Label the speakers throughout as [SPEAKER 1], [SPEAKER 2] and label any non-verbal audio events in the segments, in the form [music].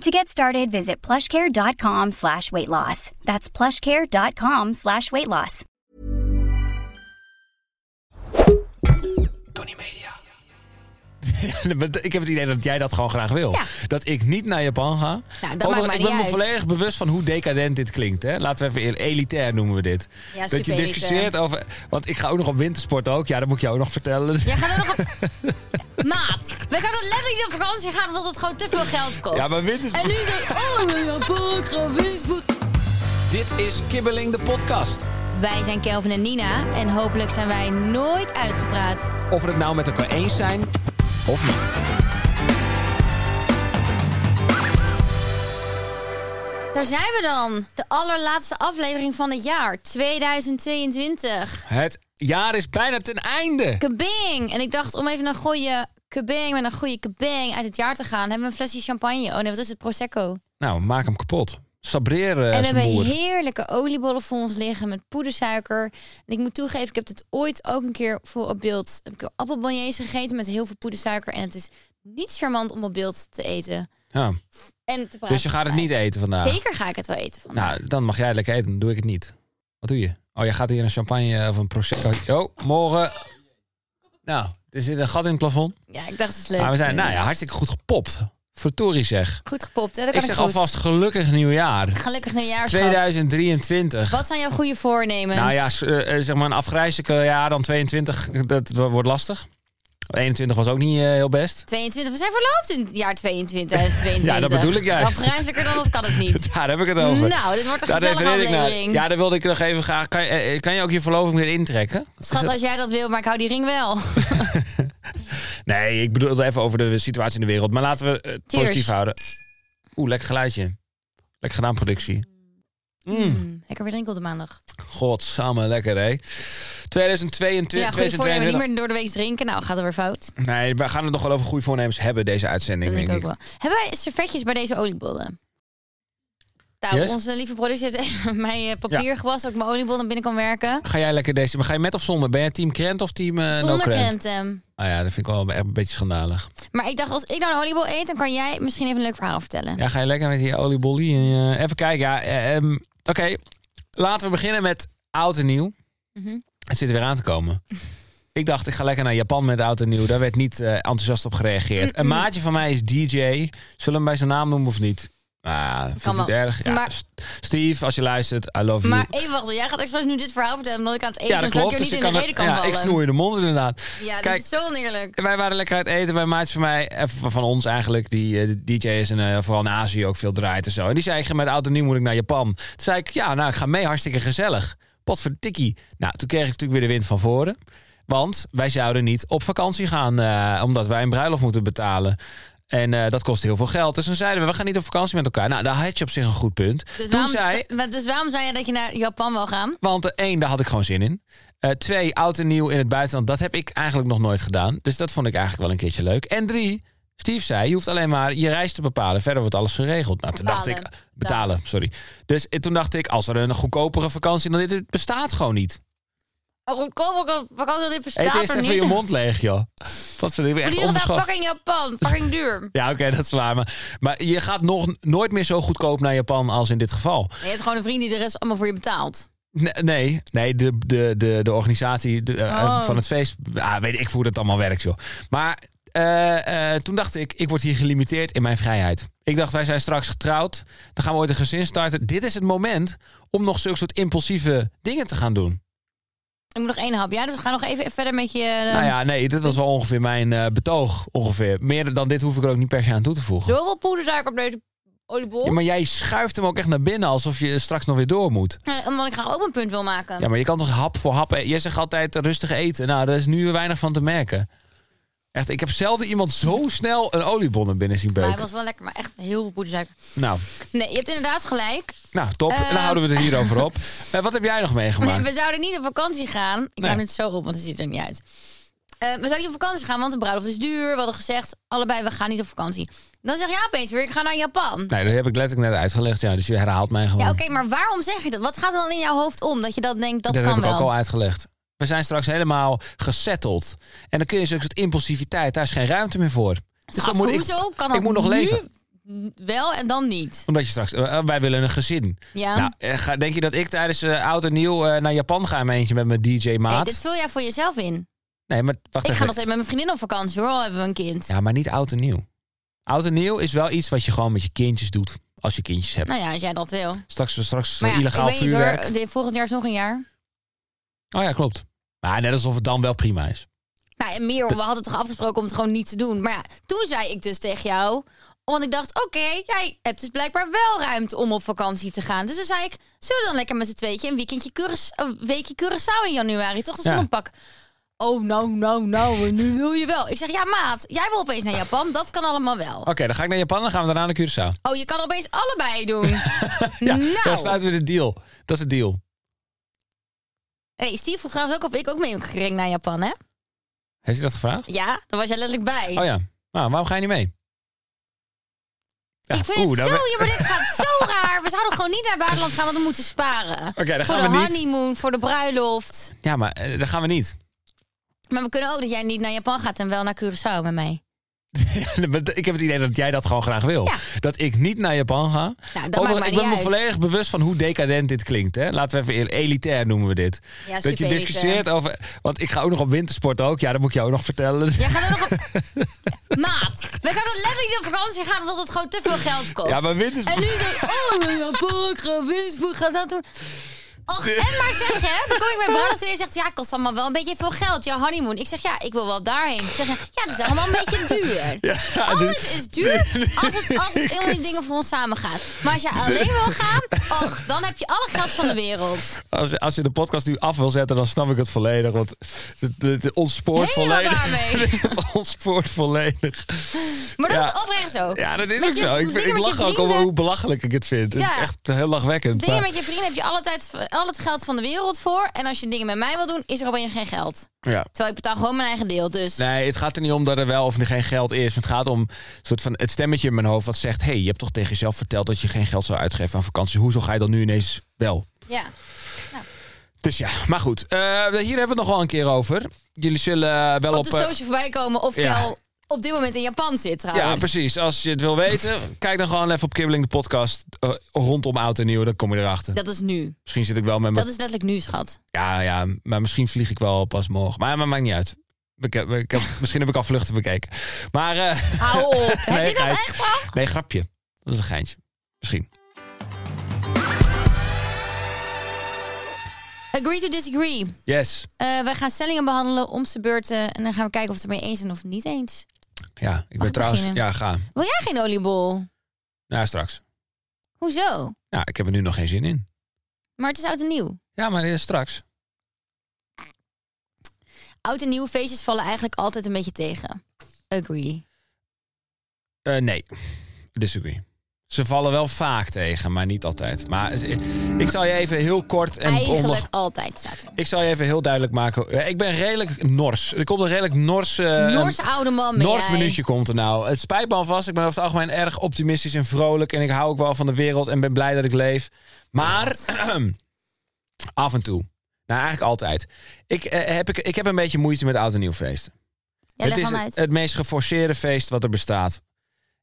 [SPEAKER 1] To get started, visit plushcare.com slash weight loss. That's plushcare.com slash weight loss.
[SPEAKER 2] Tony Media. [laughs] ik heb het idee dat jij dat gewoon graag wil.
[SPEAKER 3] Ja. Nou,
[SPEAKER 2] Dat ik niet naar Japan ga.
[SPEAKER 3] maakt
[SPEAKER 2] Ook al-
[SPEAKER 3] mij
[SPEAKER 2] ik
[SPEAKER 3] niet
[SPEAKER 2] ben me
[SPEAKER 3] uit.
[SPEAKER 2] volledig bewust van hoe decadent dit klinkt. Hè? Laten we even eer- elitair noemen we dit.
[SPEAKER 3] Ja,
[SPEAKER 2] dat je
[SPEAKER 3] super
[SPEAKER 2] discussieert
[SPEAKER 3] elitair.
[SPEAKER 2] over. Want ik ga ook nog op wintersport ook. Ja, dat moet ik jou ook nog vertellen.
[SPEAKER 3] Jij gaat er nog
[SPEAKER 2] [laughs]
[SPEAKER 3] op... Maat, we gaan er letterlijk niet op vakantie gaan omdat het gewoon te veel geld kost.
[SPEAKER 2] Ja, maar winter is-
[SPEAKER 3] En nu zo, oh, Japan, ik ga wintersport.
[SPEAKER 2] Dit is Kibbeling de podcast.
[SPEAKER 3] Wij zijn Kelvin en Nina en hopelijk zijn wij nooit uitgepraat.
[SPEAKER 2] Of we het nou met elkaar eens zijn of niet.
[SPEAKER 3] Daar zijn we dan. De allerlaatste aflevering van het jaar, 2022.
[SPEAKER 2] Het jaar is bijna ten einde.
[SPEAKER 3] Kabing! En ik dacht om even een goede kabing met een goede kabing uit het jaar te gaan. Hebben we een flesje champagne? Oh nee, wat is het? Prosecco.
[SPEAKER 2] Nou, maak hem kapot. Sabreer eh,
[SPEAKER 3] En
[SPEAKER 2] zijn
[SPEAKER 3] we hebben
[SPEAKER 2] boer.
[SPEAKER 3] heerlijke oliebollen voor ons liggen met poedersuiker. En ik moet toegeven, ik heb dit ooit ook een keer voor op beeld. Heb ik appelbeignets gegeten met heel veel poedersuiker. En het is niet charmant om op beeld te eten.
[SPEAKER 2] Ja.
[SPEAKER 3] En te praten.
[SPEAKER 2] Dus je gaat het niet eten vandaag.
[SPEAKER 3] Zeker ga ik het wel eten van.
[SPEAKER 2] Nou, dan mag jij lekker eten. Dan doe ik het niet. Wat doe je? Oh, je gaat hier een champagne of een prosecco. Oh, morgen. Nou, er zit een gat in het plafond.
[SPEAKER 3] Ja, ik dacht het is leuk.
[SPEAKER 2] Maar we zijn, nou ja, hartstikke goed gepopt. Vertorie zeg.
[SPEAKER 3] Goed gepopt, hè? Dat
[SPEAKER 2] Ik
[SPEAKER 3] kan
[SPEAKER 2] zeg
[SPEAKER 3] goed.
[SPEAKER 2] alvast gelukkig nieuwjaar.
[SPEAKER 3] Gelukkig nieuwjaar, schat.
[SPEAKER 2] 2023.
[SPEAKER 3] Wat zijn jouw goede voornemens?
[SPEAKER 2] Nou ja, s- eh, eh, zeg maar een afgrijzelijker jaar dan 22, dat wo- wordt lastig. 21 was ook niet eh, heel best. [laughs]
[SPEAKER 3] 22. We zijn verloofd in het jaar 22. 2022.
[SPEAKER 2] Ja, dat bedoel ik juist.
[SPEAKER 3] Afgrijzelijker dan dat kan het
[SPEAKER 2] [laughs]
[SPEAKER 3] niet.
[SPEAKER 2] Daar heb ik het over.
[SPEAKER 3] Nou, dit wordt een
[SPEAKER 2] Daar
[SPEAKER 3] gezellige
[SPEAKER 2] refereer ik naar.
[SPEAKER 3] aflevering.
[SPEAKER 2] Ja, daar wilde ik nog even graag. Kan, je- eh, kan je ook je verloving weer intrekken?
[SPEAKER 3] Schat, als jij dat wil, maar ik hou die ring wel.
[SPEAKER 2] Nee, ik bedoel het even over de situatie in de wereld. Maar laten we het
[SPEAKER 3] Cheers.
[SPEAKER 2] positief houden. Oeh, lekker geluidje. Lekker gedaan, productie. Hmm.
[SPEAKER 3] Mm, Lekker weer drinken op de maandag.
[SPEAKER 2] Godsamme, lekker hè. 2022.
[SPEAKER 3] ja, goede voornemen. Niet meer door de week drinken. Nou, gaat er weer fout.
[SPEAKER 2] Nee, we gaan het nog wel over goede voornemens hebben, deze uitzending.
[SPEAKER 3] Dat denk ik ook
[SPEAKER 2] denk ik.
[SPEAKER 3] wel. Hebben wij servetjes bij deze oliebollen? Nou,
[SPEAKER 2] Yes?
[SPEAKER 3] onze lieve producent [laughs] heeft mij eh, papier gewassen... dat ik mijn oliebollen binnen kan werken.
[SPEAKER 2] Ga jij lekker deze... Maar ga je met of zonder? Ben jij team krent of team eh no
[SPEAKER 3] Zonder
[SPEAKER 2] krent?
[SPEAKER 3] krenten.
[SPEAKER 2] Ah ja, dat vind ik wel echt een beetje schandalig.
[SPEAKER 3] Maar ik dacht, als ik nou een oliebol eet... dan kan jij misschien even een leuk verhaal vertellen.
[SPEAKER 2] Ja, ga je lekker met die oliebollie? eh, even kijken. Ja, eh, ehm, Oké, laten we beginnen met oud en nieuw.
[SPEAKER 3] Mhm.
[SPEAKER 2] Het zit er weer aan te komen. Ik dacht, ik ga lekker naar Japan met oud en nieuw. Daar werd niet eh, enthousiast op gereageerd. Een maatje van mij is DJ. Zullen we hem bij zijn naam noemen of niet? Ah, vind ik
[SPEAKER 3] Kan
[SPEAKER 2] het
[SPEAKER 3] wel.
[SPEAKER 2] erg? Ja,
[SPEAKER 3] Maar-
[SPEAKER 2] S- Steve, als je luistert, I love you.
[SPEAKER 3] Maar even wachten, jij gaat expres nu dit verhaal vertellen... omdat ik aan het eten
[SPEAKER 2] ja, dat
[SPEAKER 3] ben, zodat
[SPEAKER 2] klopt.
[SPEAKER 3] ik er
[SPEAKER 2] Dus ik
[SPEAKER 3] niet
[SPEAKER 2] kan,
[SPEAKER 3] in de reden kan
[SPEAKER 2] ja,
[SPEAKER 3] vallen.
[SPEAKER 2] ik snoer je de mond inderdaad.
[SPEAKER 3] Ja, dat
[SPEAKER 2] Kijk,
[SPEAKER 3] is zo oneerlijk.
[SPEAKER 2] wij waren lekker uit eten bij maatjes van mij, eh, van van ons eigenlijk, die eh, de DJ is en eh, vooral in Azië ook veel draait en zo. En die zei, ik ga met oud en nieuw moet ik naar Japan. Toen zei ik, ja, nou, ik ga mee, hartstikke gezellig. Potverdikkie. Nou, toen kreeg ik natuurlijk weer de wind van voren. Want wij zouden niet op vakantie gaan, eh, omdat wij een bruiloft moeten betalen. En eh, dat kost heel veel geld. Dus toen zeiden we, we gaan niet op vakantie met elkaar. Nou, daar had je op zich een goed punt.
[SPEAKER 3] Dus
[SPEAKER 2] toen
[SPEAKER 3] waarom,
[SPEAKER 2] zei,
[SPEAKER 3] maar dus waarom zei je dat je naar Japan wil gaan?
[SPEAKER 2] want eh, één, daar had ik gewoon zin in. Eh, twee, oud en nieuw in het buitenland. Dat heb ik eigenlijk nog nooit gedaan. Dus dat vond ik eigenlijk wel een keertje leuk. En drie, Steve zei, je hoeft alleen maar je reis te bepalen. Verder wordt alles geregeld. Nou, toen dacht ik...
[SPEAKER 3] Betalen.
[SPEAKER 2] Betalen, sorry. Dus eh, toen dacht ik, als er een goedkopere vakantie... dan dit het bestaat gewoon niet.
[SPEAKER 3] Oh, goedkoop, wat- wat kan dit
[SPEAKER 2] Eet
[SPEAKER 3] bestaat
[SPEAKER 2] eerst
[SPEAKER 3] er
[SPEAKER 2] even je
[SPEAKER 3] niet. [laughs]
[SPEAKER 2] mond leeg, joh. Wat vind ik echt
[SPEAKER 3] Vliegen naar
[SPEAKER 2] onbeschoft.
[SPEAKER 3] fucking Japan, fucking
[SPEAKER 2] [laughs]
[SPEAKER 3] duur.
[SPEAKER 2] Ja, oké, dat is waar. Maar, maar je gaat nog nooit meer zo goedkoop naar Japan als in dit geval.
[SPEAKER 3] Je hebt gewoon een vriend die de rest allemaal voor je betaalt.
[SPEAKER 2] Nee, nee, nee, de, de, de, de organisatie de, eh,
[SPEAKER 3] Oh.
[SPEAKER 2] van het feest. Ah, weet ik hoe dat allemaal werkt, joh. Maar eh, eh, toen dacht ik, ik word hier gelimiteerd in mijn vrijheid. Ik dacht, wij zijn straks getrouwd. Dan gaan we ooit een gezin starten. Dit is het moment om nog zulke soort impulsieve dingen te gaan doen.
[SPEAKER 3] Ik moet nog één hap. Ja, dus ga nog even verder met je... eh,
[SPEAKER 2] nou ja, nee, dit was wel ongeveer mijn eh, betoog. Ongeveer. Meer dan dit hoef ik er ook niet per se aan toe te voegen.
[SPEAKER 3] Zoveel poedersuiker op deze oliebol.
[SPEAKER 2] Ja, maar jij schuift hem ook echt naar binnen alsof je straks nog weer door moet.
[SPEAKER 3] Eh, Omdat ik graag ook een punt wil maken.
[SPEAKER 2] Ja, maar je kan toch hap voor hap. e- Jij zegt altijd rustig eten. Nou, daar is nu weinig van te merken. Echt, ik heb zelden iemand zo snel een oliebol naar binnen zien
[SPEAKER 3] Maar
[SPEAKER 2] beuken.
[SPEAKER 3] hij was wel lekker, maar echt heel veel poedersuiker.
[SPEAKER 2] Nou,
[SPEAKER 3] Nee, je hebt inderdaad gelijk.
[SPEAKER 2] nou, top. Dan
[SPEAKER 3] Eh,
[SPEAKER 2] houden we het hierover
[SPEAKER 3] [laughs]
[SPEAKER 2] op. Eh, wat heb jij nog meegemaakt?
[SPEAKER 3] We zouden niet op vakantie gaan. Ik
[SPEAKER 2] Nee.
[SPEAKER 3] hou het zo op, want het ziet er niet uit. Eh, we zouden niet op vakantie gaan, want de bruiloft is duur. We hadden gezegd, allebei, we gaan niet op vakantie. Dan zeg je opeens weer, ik ga naar Japan.
[SPEAKER 2] Nee, dat heb ik letterlijk net uitgelegd. Ja, dus je herhaalt mij gewoon.
[SPEAKER 3] Ja, oké, maar waarom zeg je dat? Wat gaat er dan in jouw hoofd om dat je dat denkt, dat,
[SPEAKER 2] dat
[SPEAKER 3] kan
[SPEAKER 2] heb ik
[SPEAKER 3] wel?
[SPEAKER 2] ook al uitgelegd. We zijn straks helemaal gesetteld. En dan kun je zo'n soort impulsiviteit, daar is geen ruimte meer voor. Dus
[SPEAKER 3] Schat,
[SPEAKER 2] moet ik-
[SPEAKER 3] hoezo kan
[SPEAKER 2] ik
[SPEAKER 3] dat
[SPEAKER 2] moet nog
[SPEAKER 3] nu
[SPEAKER 2] leven.
[SPEAKER 3] wel en dan niet?
[SPEAKER 2] Omdat je straks, eh, eh, wij willen een gezin.
[SPEAKER 3] Ja.
[SPEAKER 2] Nou, eh, ga- denk je dat ik tijdens eh, oud en nieuw eh, naar Japan ga in mijn eentje met mijn
[SPEAKER 3] Nee,
[SPEAKER 2] DJ-maat?
[SPEAKER 3] dit vul jij voor jezelf in.
[SPEAKER 2] Nee, maar wacht
[SPEAKER 3] Ik ga
[SPEAKER 2] even.
[SPEAKER 3] nog steeds met mijn vriendin op vakantie hoor, al hebben we een kind.
[SPEAKER 2] Ja, maar niet oud en nieuw. Oud en nieuw is wel iets wat je gewoon met je kindjes doet. Als je kindjes hebt.
[SPEAKER 3] Nou ja, als jij dat wil.
[SPEAKER 2] Straks, straks
[SPEAKER 3] Maar ja,
[SPEAKER 2] illegaal
[SPEAKER 3] ik weet niet
[SPEAKER 2] vuurwerk.
[SPEAKER 3] hoor, de- volgend jaar is nog een jaar.
[SPEAKER 2] Oh ja, klopt. Maar net alsof het dan wel prima is.
[SPEAKER 3] Nou, en meer, we hadden toch afgesproken om het gewoon niet te doen. Maar ja, toen zei ik dus tegen jou, want ik dacht, oké, jij hebt dus blijkbaar wel ruimte om op vakantie te gaan. Dus toen zei ik, zullen we dan lekker met z'n tweetje een weekendje Curaçao, een weekje Curaçao in januari, toch? Dat is
[SPEAKER 2] Ja.
[SPEAKER 3] dan een pak. Oh, nou, nou, nou, en nu wil je wel. Ik zeg, ja maat, jij wil opeens naar Japan, dat kan allemaal wel.
[SPEAKER 2] Oké, dan ga ik naar Japan en dan gaan we daarna naar Curaçao. [laughs]
[SPEAKER 3] Oh, je kan opeens allebei doen.
[SPEAKER 2] Ja, daar
[SPEAKER 3] nou,
[SPEAKER 2] sluiten we de deal. Dat is de deal.
[SPEAKER 3] hey, Steve vroeg trouwens ook of ik ook mee heb gekregen naar Japan, hè?
[SPEAKER 2] Heeft hij dat gevraagd?
[SPEAKER 3] Ja, daar was jij letterlijk bij.
[SPEAKER 2] Oh ja. Nou, waarom ga je niet mee? Ja,
[SPEAKER 3] ik vind
[SPEAKER 2] oeh, nou, dan
[SPEAKER 3] het zo,
[SPEAKER 2] ben-
[SPEAKER 3] ja, maar dit gaat zo raar. We zouden gewoon niet naar het buitenland gaan, want we moeten
[SPEAKER 2] [laughs]
[SPEAKER 3] sparen.
[SPEAKER 2] Oké, dan
[SPEAKER 3] voor
[SPEAKER 2] gaan
[SPEAKER 3] de
[SPEAKER 2] we niet.
[SPEAKER 3] honeymoon, voor de bruiloft.
[SPEAKER 2] Ja, maar eh, dat gaan we niet.
[SPEAKER 3] Maar we kunnen ook dat jij niet naar Japan gaat en wel naar Curaçao met mij.
[SPEAKER 2] Ja, [laughs] maar d- ik heb het idee dat jij dat gewoon graag wil.
[SPEAKER 3] Ja. Nou,
[SPEAKER 2] Dat ik niet naar Japan ga.
[SPEAKER 3] maakt
[SPEAKER 2] Overigens,
[SPEAKER 3] mij
[SPEAKER 2] ik ben
[SPEAKER 3] niet
[SPEAKER 2] me
[SPEAKER 3] uit.
[SPEAKER 2] volledig bewust van hoe decadent dit klinkt. Hè? Laten we even eer- elitair noemen we dit.
[SPEAKER 3] Ja,
[SPEAKER 2] dat je
[SPEAKER 3] super
[SPEAKER 2] discussieert over. Want ik ga ook nog op wintersport ook. Ja, dat moet ik jou ook nog vertellen.
[SPEAKER 3] Jij gaat
[SPEAKER 2] [laughs]
[SPEAKER 3] ook nog op... Maat, we zouden letterlijk niet op vakantie gaan omdat het gewoon te veel geld kost.
[SPEAKER 2] Ja, maar wintersport-
[SPEAKER 3] En nu denk ik, oh, naar Japan, ik ga wintersport, ga dat doen. Och, en maar zeg hè, dan kom ik bij Brad en je zegt, ja, kost allemaal wel een beetje veel geld, jouw honeymoon. Ik zeg, ja, ik wil wel daarheen. Zeg, ja, het is allemaal een beetje duur.
[SPEAKER 2] [laughs] Ja, dit-
[SPEAKER 3] Alles Oh, is duur
[SPEAKER 2] [laughs]
[SPEAKER 3] als het, als het heel die dingen voor ons samen gaat. Maar als jij alleen wil gaan, och, dan heb je alle geld van de wereld.
[SPEAKER 2] Als, als je de podcast nu af wil zetten, dan snap ik het volledig. Want het, het, het ontspoort
[SPEAKER 3] Helemaal
[SPEAKER 2] volledig.
[SPEAKER 3] daarmee.
[SPEAKER 2] [laughs] het ontspoort volledig.
[SPEAKER 3] Maar dat
[SPEAKER 2] Ja.
[SPEAKER 3] is oprecht zo.
[SPEAKER 2] Ja, dat is
[SPEAKER 3] Met
[SPEAKER 2] ook
[SPEAKER 3] je
[SPEAKER 2] zo. Ik,
[SPEAKER 3] dingen
[SPEAKER 2] ik
[SPEAKER 3] met je
[SPEAKER 2] lach ook om
[SPEAKER 3] vrienden.
[SPEAKER 2] hoe belachelijk ik het vind. Het
[SPEAKER 3] Ja.
[SPEAKER 2] is echt heel lachwekkend.
[SPEAKER 3] Dingen
[SPEAKER 2] maar-
[SPEAKER 3] met je vrienden heb je alle tijd, al het geld van de wereld voor. En als je dingen met mij wil doen, is er opeens geen geld.
[SPEAKER 2] ja.
[SPEAKER 3] Terwijl ik betaal gewoon mijn eigen deel, dus...
[SPEAKER 2] Nee, het gaat er niet om dat er wel of er geen geld is. Het gaat om een soort van het stemmetje in mijn hoofd wat zegt... hey, je hebt toch tegen jezelf verteld dat je geen geld zou uitgeven aan vakantie. Hoezo ga je dan nu ineens wel?
[SPEAKER 3] Ja.
[SPEAKER 2] Dus ja, maar goed. Eh, hier hebben we het nog wel een keer over. Jullie zullen eh, wel op...
[SPEAKER 3] Op de
[SPEAKER 2] eh,
[SPEAKER 3] social voorbij komen of
[SPEAKER 2] ja.
[SPEAKER 3] Kel op dit moment in Japan zit trouwens.
[SPEAKER 2] Ja, precies. Als je het wil weten,
[SPEAKER 3] [laughs]
[SPEAKER 2] kijk dan gewoon even op Kibbeling de podcast eh, rondom oud en nieuw. Dan kom je erachter.
[SPEAKER 3] Dat is nu.
[SPEAKER 2] Misschien zit ik wel met
[SPEAKER 3] Dat
[SPEAKER 2] mijn...
[SPEAKER 3] is letterlijk nu, schat.
[SPEAKER 2] Ja, ja, maar misschien vlieg ik wel pas morgen. Maar, maar maakt niet uit. Ik heb, ik heb,
[SPEAKER 3] [laughs]
[SPEAKER 2] misschien heb ik al vluchten bekeken. Maar eh, [laughs]
[SPEAKER 3] Hou op. heb je dat
[SPEAKER 2] geit.
[SPEAKER 3] echt al?
[SPEAKER 2] nee, grapje. Dat is een geintje. Misschien.
[SPEAKER 3] Agree to disagree.
[SPEAKER 2] Yes.
[SPEAKER 3] Eh, wij gaan stellingen behandelen om zijn beurten. En dan gaan we kijken of we het ermee eens zijn of niet eens.
[SPEAKER 2] Ja, ik ben
[SPEAKER 3] ik
[SPEAKER 2] trouwens...
[SPEAKER 3] beginnen?
[SPEAKER 2] Ja, ga.
[SPEAKER 3] Wil jij geen oliebol?
[SPEAKER 2] Nou, straks.
[SPEAKER 3] Hoezo?
[SPEAKER 2] Ja, ik heb er nu nog geen zin in.
[SPEAKER 3] Maar het is oud en nieuw.
[SPEAKER 2] Ja, maar eh, straks.
[SPEAKER 3] Oud en nieuw feestjes vallen eigenlijk altijd een beetje tegen. Agree.
[SPEAKER 2] Eh, nee, disagree. Ze vallen wel vaak tegen, maar niet altijd. Maar eh, ik zal je even heel kort en onbe-
[SPEAKER 3] Eigenlijk altijd staat er.
[SPEAKER 2] Ik zal je even heel duidelijk maken. Eh, Ik ben redelijk nors. Er komt een redelijk nors... eh,
[SPEAKER 3] Noorse
[SPEAKER 2] een-
[SPEAKER 3] oude man ben
[SPEAKER 2] Nors
[SPEAKER 3] jij.
[SPEAKER 2] minuutje komt er nou. Het spijt me alvast. Ik ben over het algemeen erg optimistisch en vrolijk. En ik hou ook wel van de wereld en ben blij dat ik leef. Maar [clears throat] af en toe. Nou, eigenlijk altijd. Ik, eh, heb, ik, ik heb een beetje moeite met oud en nieuw feesten.
[SPEAKER 3] Ja,
[SPEAKER 2] het
[SPEAKER 3] leg
[SPEAKER 2] is
[SPEAKER 3] hem
[SPEAKER 2] het,
[SPEAKER 3] uit.
[SPEAKER 2] het meest geforceerde feest wat er bestaat.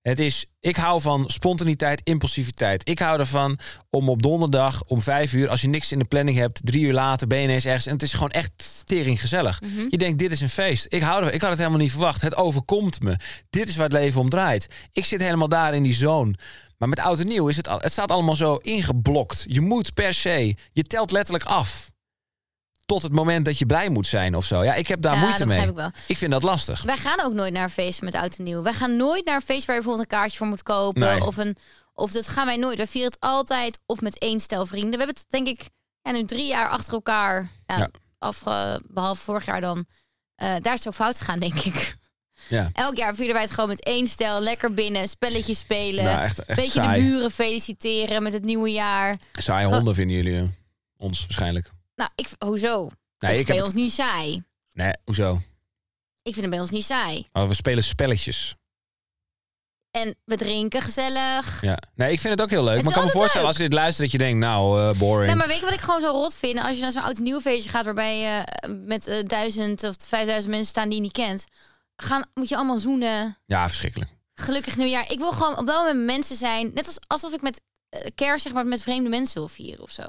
[SPEAKER 2] Het is, ik hou van spontaniteit, impulsiviteit. Ik hou ervan om op donderdag om vijf uur, als je niks in de planning hebt, drie uur later ben je ineens ergens. En het is gewoon echt tering gezellig.
[SPEAKER 3] Mhm.
[SPEAKER 2] Je denkt, dit is een feest. Ik, hou ervan. ik had het helemaal niet verwacht. Het overkomt me. Dit is waar het leven om draait. Ik zit helemaal daar in die zone. Maar met oud en nieuw is het, al, het staat allemaal zo ingeblokt. Je moet per se, je telt letterlijk af. Tot het moment dat je blij moet zijn of zo. Ja, ik heb daar
[SPEAKER 3] Ja,
[SPEAKER 2] moeite
[SPEAKER 3] dat
[SPEAKER 2] mee.
[SPEAKER 3] begrijp ik wel.
[SPEAKER 2] Ik vind dat lastig.
[SPEAKER 3] Wij gaan ook nooit naar een feest met oud en nieuw. Wij gaan nooit naar een feest waar je bijvoorbeeld een kaartje voor moet kopen.
[SPEAKER 2] Nee.
[SPEAKER 3] Of, een, of dat gaan wij nooit. Wij vieren het altijd of met één stel vrienden. We hebben het denk ik ja, nu drie jaar achter elkaar. Ja,
[SPEAKER 2] Ja.
[SPEAKER 3] afge- behalve vorig jaar dan. Eh, daar is het ook fout gegaan, denk ik. [laughs]
[SPEAKER 2] Ja.
[SPEAKER 3] Elk jaar vierden wij het gewoon met één stijl. Lekker binnen, spelletjes spelen.
[SPEAKER 2] Nou, echt- echt
[SPEAKER 3] beetje
[SPEAKER 2] saai.
[SPEAKER 3] de buren feliciteren met het nieuwe jaar.
[SPEAKER 2] Saaie honden vinden jullie eh, ons waarschijnlijk.
[SPEAKER 3] Nou, ik, hoezo?
[SPEAKER 2] Nee,
[SPEAKER 3] het is
[SPEAKER 2] ik
[SPEAKER 3] bij
[SPEAKER 2] heb-
[SPEAKER 3] ons niet saai.
[SPEAKER 2] Nee, hoezo?
[SPEAKER 3] Ik vind het bij ons niet saai.
[SPEAKER 2] Oh, we spelen spelletjes.
[SPEAKER 3] En we drinken gezellig.
[SPEAKER 2] Ja. Nee, ik vind het ook heel leuk.
[SPEAKER 3] Het
[SPEAKER 2] maar
[SPEAKER 3] is
[SPEAKER 2] ik kan me
[SPEAKER 3] altijd
[SPEAKER 2] voorstellen
[SPEAKER 3] leuk.
[SPEAKER 2] als je dit luistert dat je denkt, nou, eh, boring.
[SPEAKER 3] Nee, maar weet je wat ik gewoon zo rot vind? Als je naar zo'n oud nieuw feestje gaat waarbij je met eh, duizend of vijfduizend mensen staan die je niet kent. Gaan, moet je allemaal zoenen.
[SPEAKER 2] Ja, verschrikkelijk.
[SPEAKER 3] Gelukkig nieuwjaar. Ik wil gewoon op dat moment mensen zijn. Net als, alsof ik met eh, kerst zeg maar met vreemde mensen wil vieren of zo.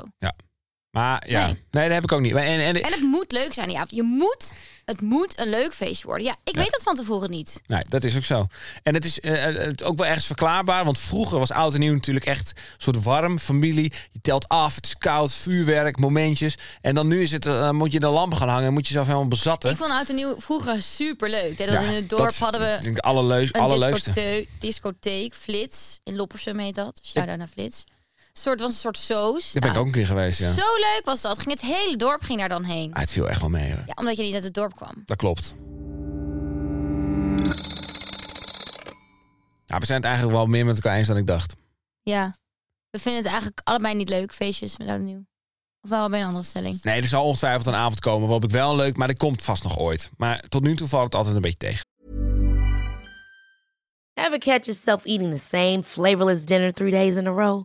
[SPEAKER 2] Maar ja, nee,
[SPEAKER 3] Nee.
[SPEAKER 2] dat heb ik ook niet. Maar En, en,
[SPEAKER 3] En het moet leuk zijn die avond. Je moet, het moet een leuk feestje worden. Ja, ik weet dat van tevoren niet.
[SPEAKER 2] Nee, dat is ook zo. En het is eh, eh, het ook wel ergens verklaarbaar. Want vroeger was oud en nieuw natuurlijk echt een soort warm familie. Je telt af, het is koud, vuurwerk, momentjes. En dan nu is het, eh, dan moet je de lampen gaan hangen en moet je zelf helemaal bezatten.
[SPEAKER 3] Ik vond oud en nieuw vroeger super leuk. Dat
[SPEAKER 2] Ja,
[SPEAKER 3] in het dorp
[SPEAKER 2] dat
[SPEAKER 3] hadden
[SPEAKER 2] is,
[SPEAKER 3] we
[SPEAKER 2] denk ik, allerleus,
[SPEAKER 3] een
[SPEAKER 2] allerleukste.
[SPEAKER 3] discotheek, discotheek, Flits. In Loppersum heet dat. Shout-out naar Flits. Een soort, was een soort soos.
[SPEAKER 2] Daar ben ik
[SPEAKER 3] Nou,
[SPEAKER 2] ook een keer geweest, ja.
[SPEAKER 3] Zo leuk was dat. Ging het hele dorp ging daar dan heen.
[SPEAKER 2] Ah, het viel echt wel mee, hè.
[SPEAKER 3] Ja, omdat je niet uit het dorp kwam.
[SPEAKER 2] Dat klopt. Ja, Nou, we zijn het eigenlijk wel meer met elkaar eens dan ik dacht.
[SPEAKER 3] Ja. We vinden het eigenlijk allebei niet leuk, feestjes met oud en nieuw. Of wel bij een andere stelling.
[SPEAKER 2] Nee, er zal ongetwijfeld een avond komen waarop ik wel leuk... maar dat komt vast nog ooit. Maar tot nu toe valt het altijd een beetje tegen.
[SPEAKER 4] Ever catch yourself eating the same flavorless dinner three days in a row?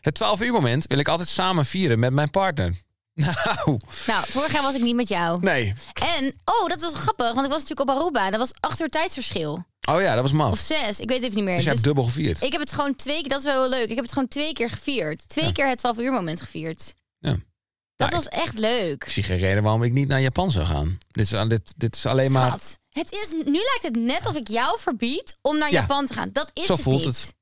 [SPEAKER 2] Het 12 uur moment wil ik altijd samen vieren met mijn partner. [laughs] Nou,
[SPEAKER 3] Nou, vorig jaar was ik niet met jou.
[SPEAKER 2] nee.
[SPEAKER 3] En, oh, dat was grappig, want ik was natuurlijk op Aruba. Dat was acht uur tijdsverschil.
[SPEAKER 2] Oh ja, dat was maf.
[SPEAKER 3] Of zes, ik weet het even niet meer.
[SPEAKER 2] Dus je
[SPEAKER 3] Dus
[SPEAKER 2] hebt dubbel gevierd.
[SPEAKER 3] ik heb het gewoon twee keer, dat is wel heel leuk. Ik heb het gewoon twee keer gevierd. Twee keer het 12 uur moment gevierd.
[SPEAKER 2] Ja.
[SPEAKER 3] Dat
[SPEAKER 2] Ja,
[SPEAKER 3] was echt
[SPEAKER 2] Ik
[SPEAKER 3] leuk.
[SPEAKER 2] zie geen reden waarom ik niet naar Japan zou gaan. Dit is, dit, dit is alleen maar...
[SPEAKER 3] Schat, het is, nu lijkt het net of ik jou verbied om naar
[SPEAKER 2] Ja.
[SPEAKER 3] Japan te gaan. Dat is
[SPEAKER 2] Zo
[SPEAKER 3] het
[SPEAKER 2] voelt
[SPEAKER 3] niet.
[SPEAKER 2] het.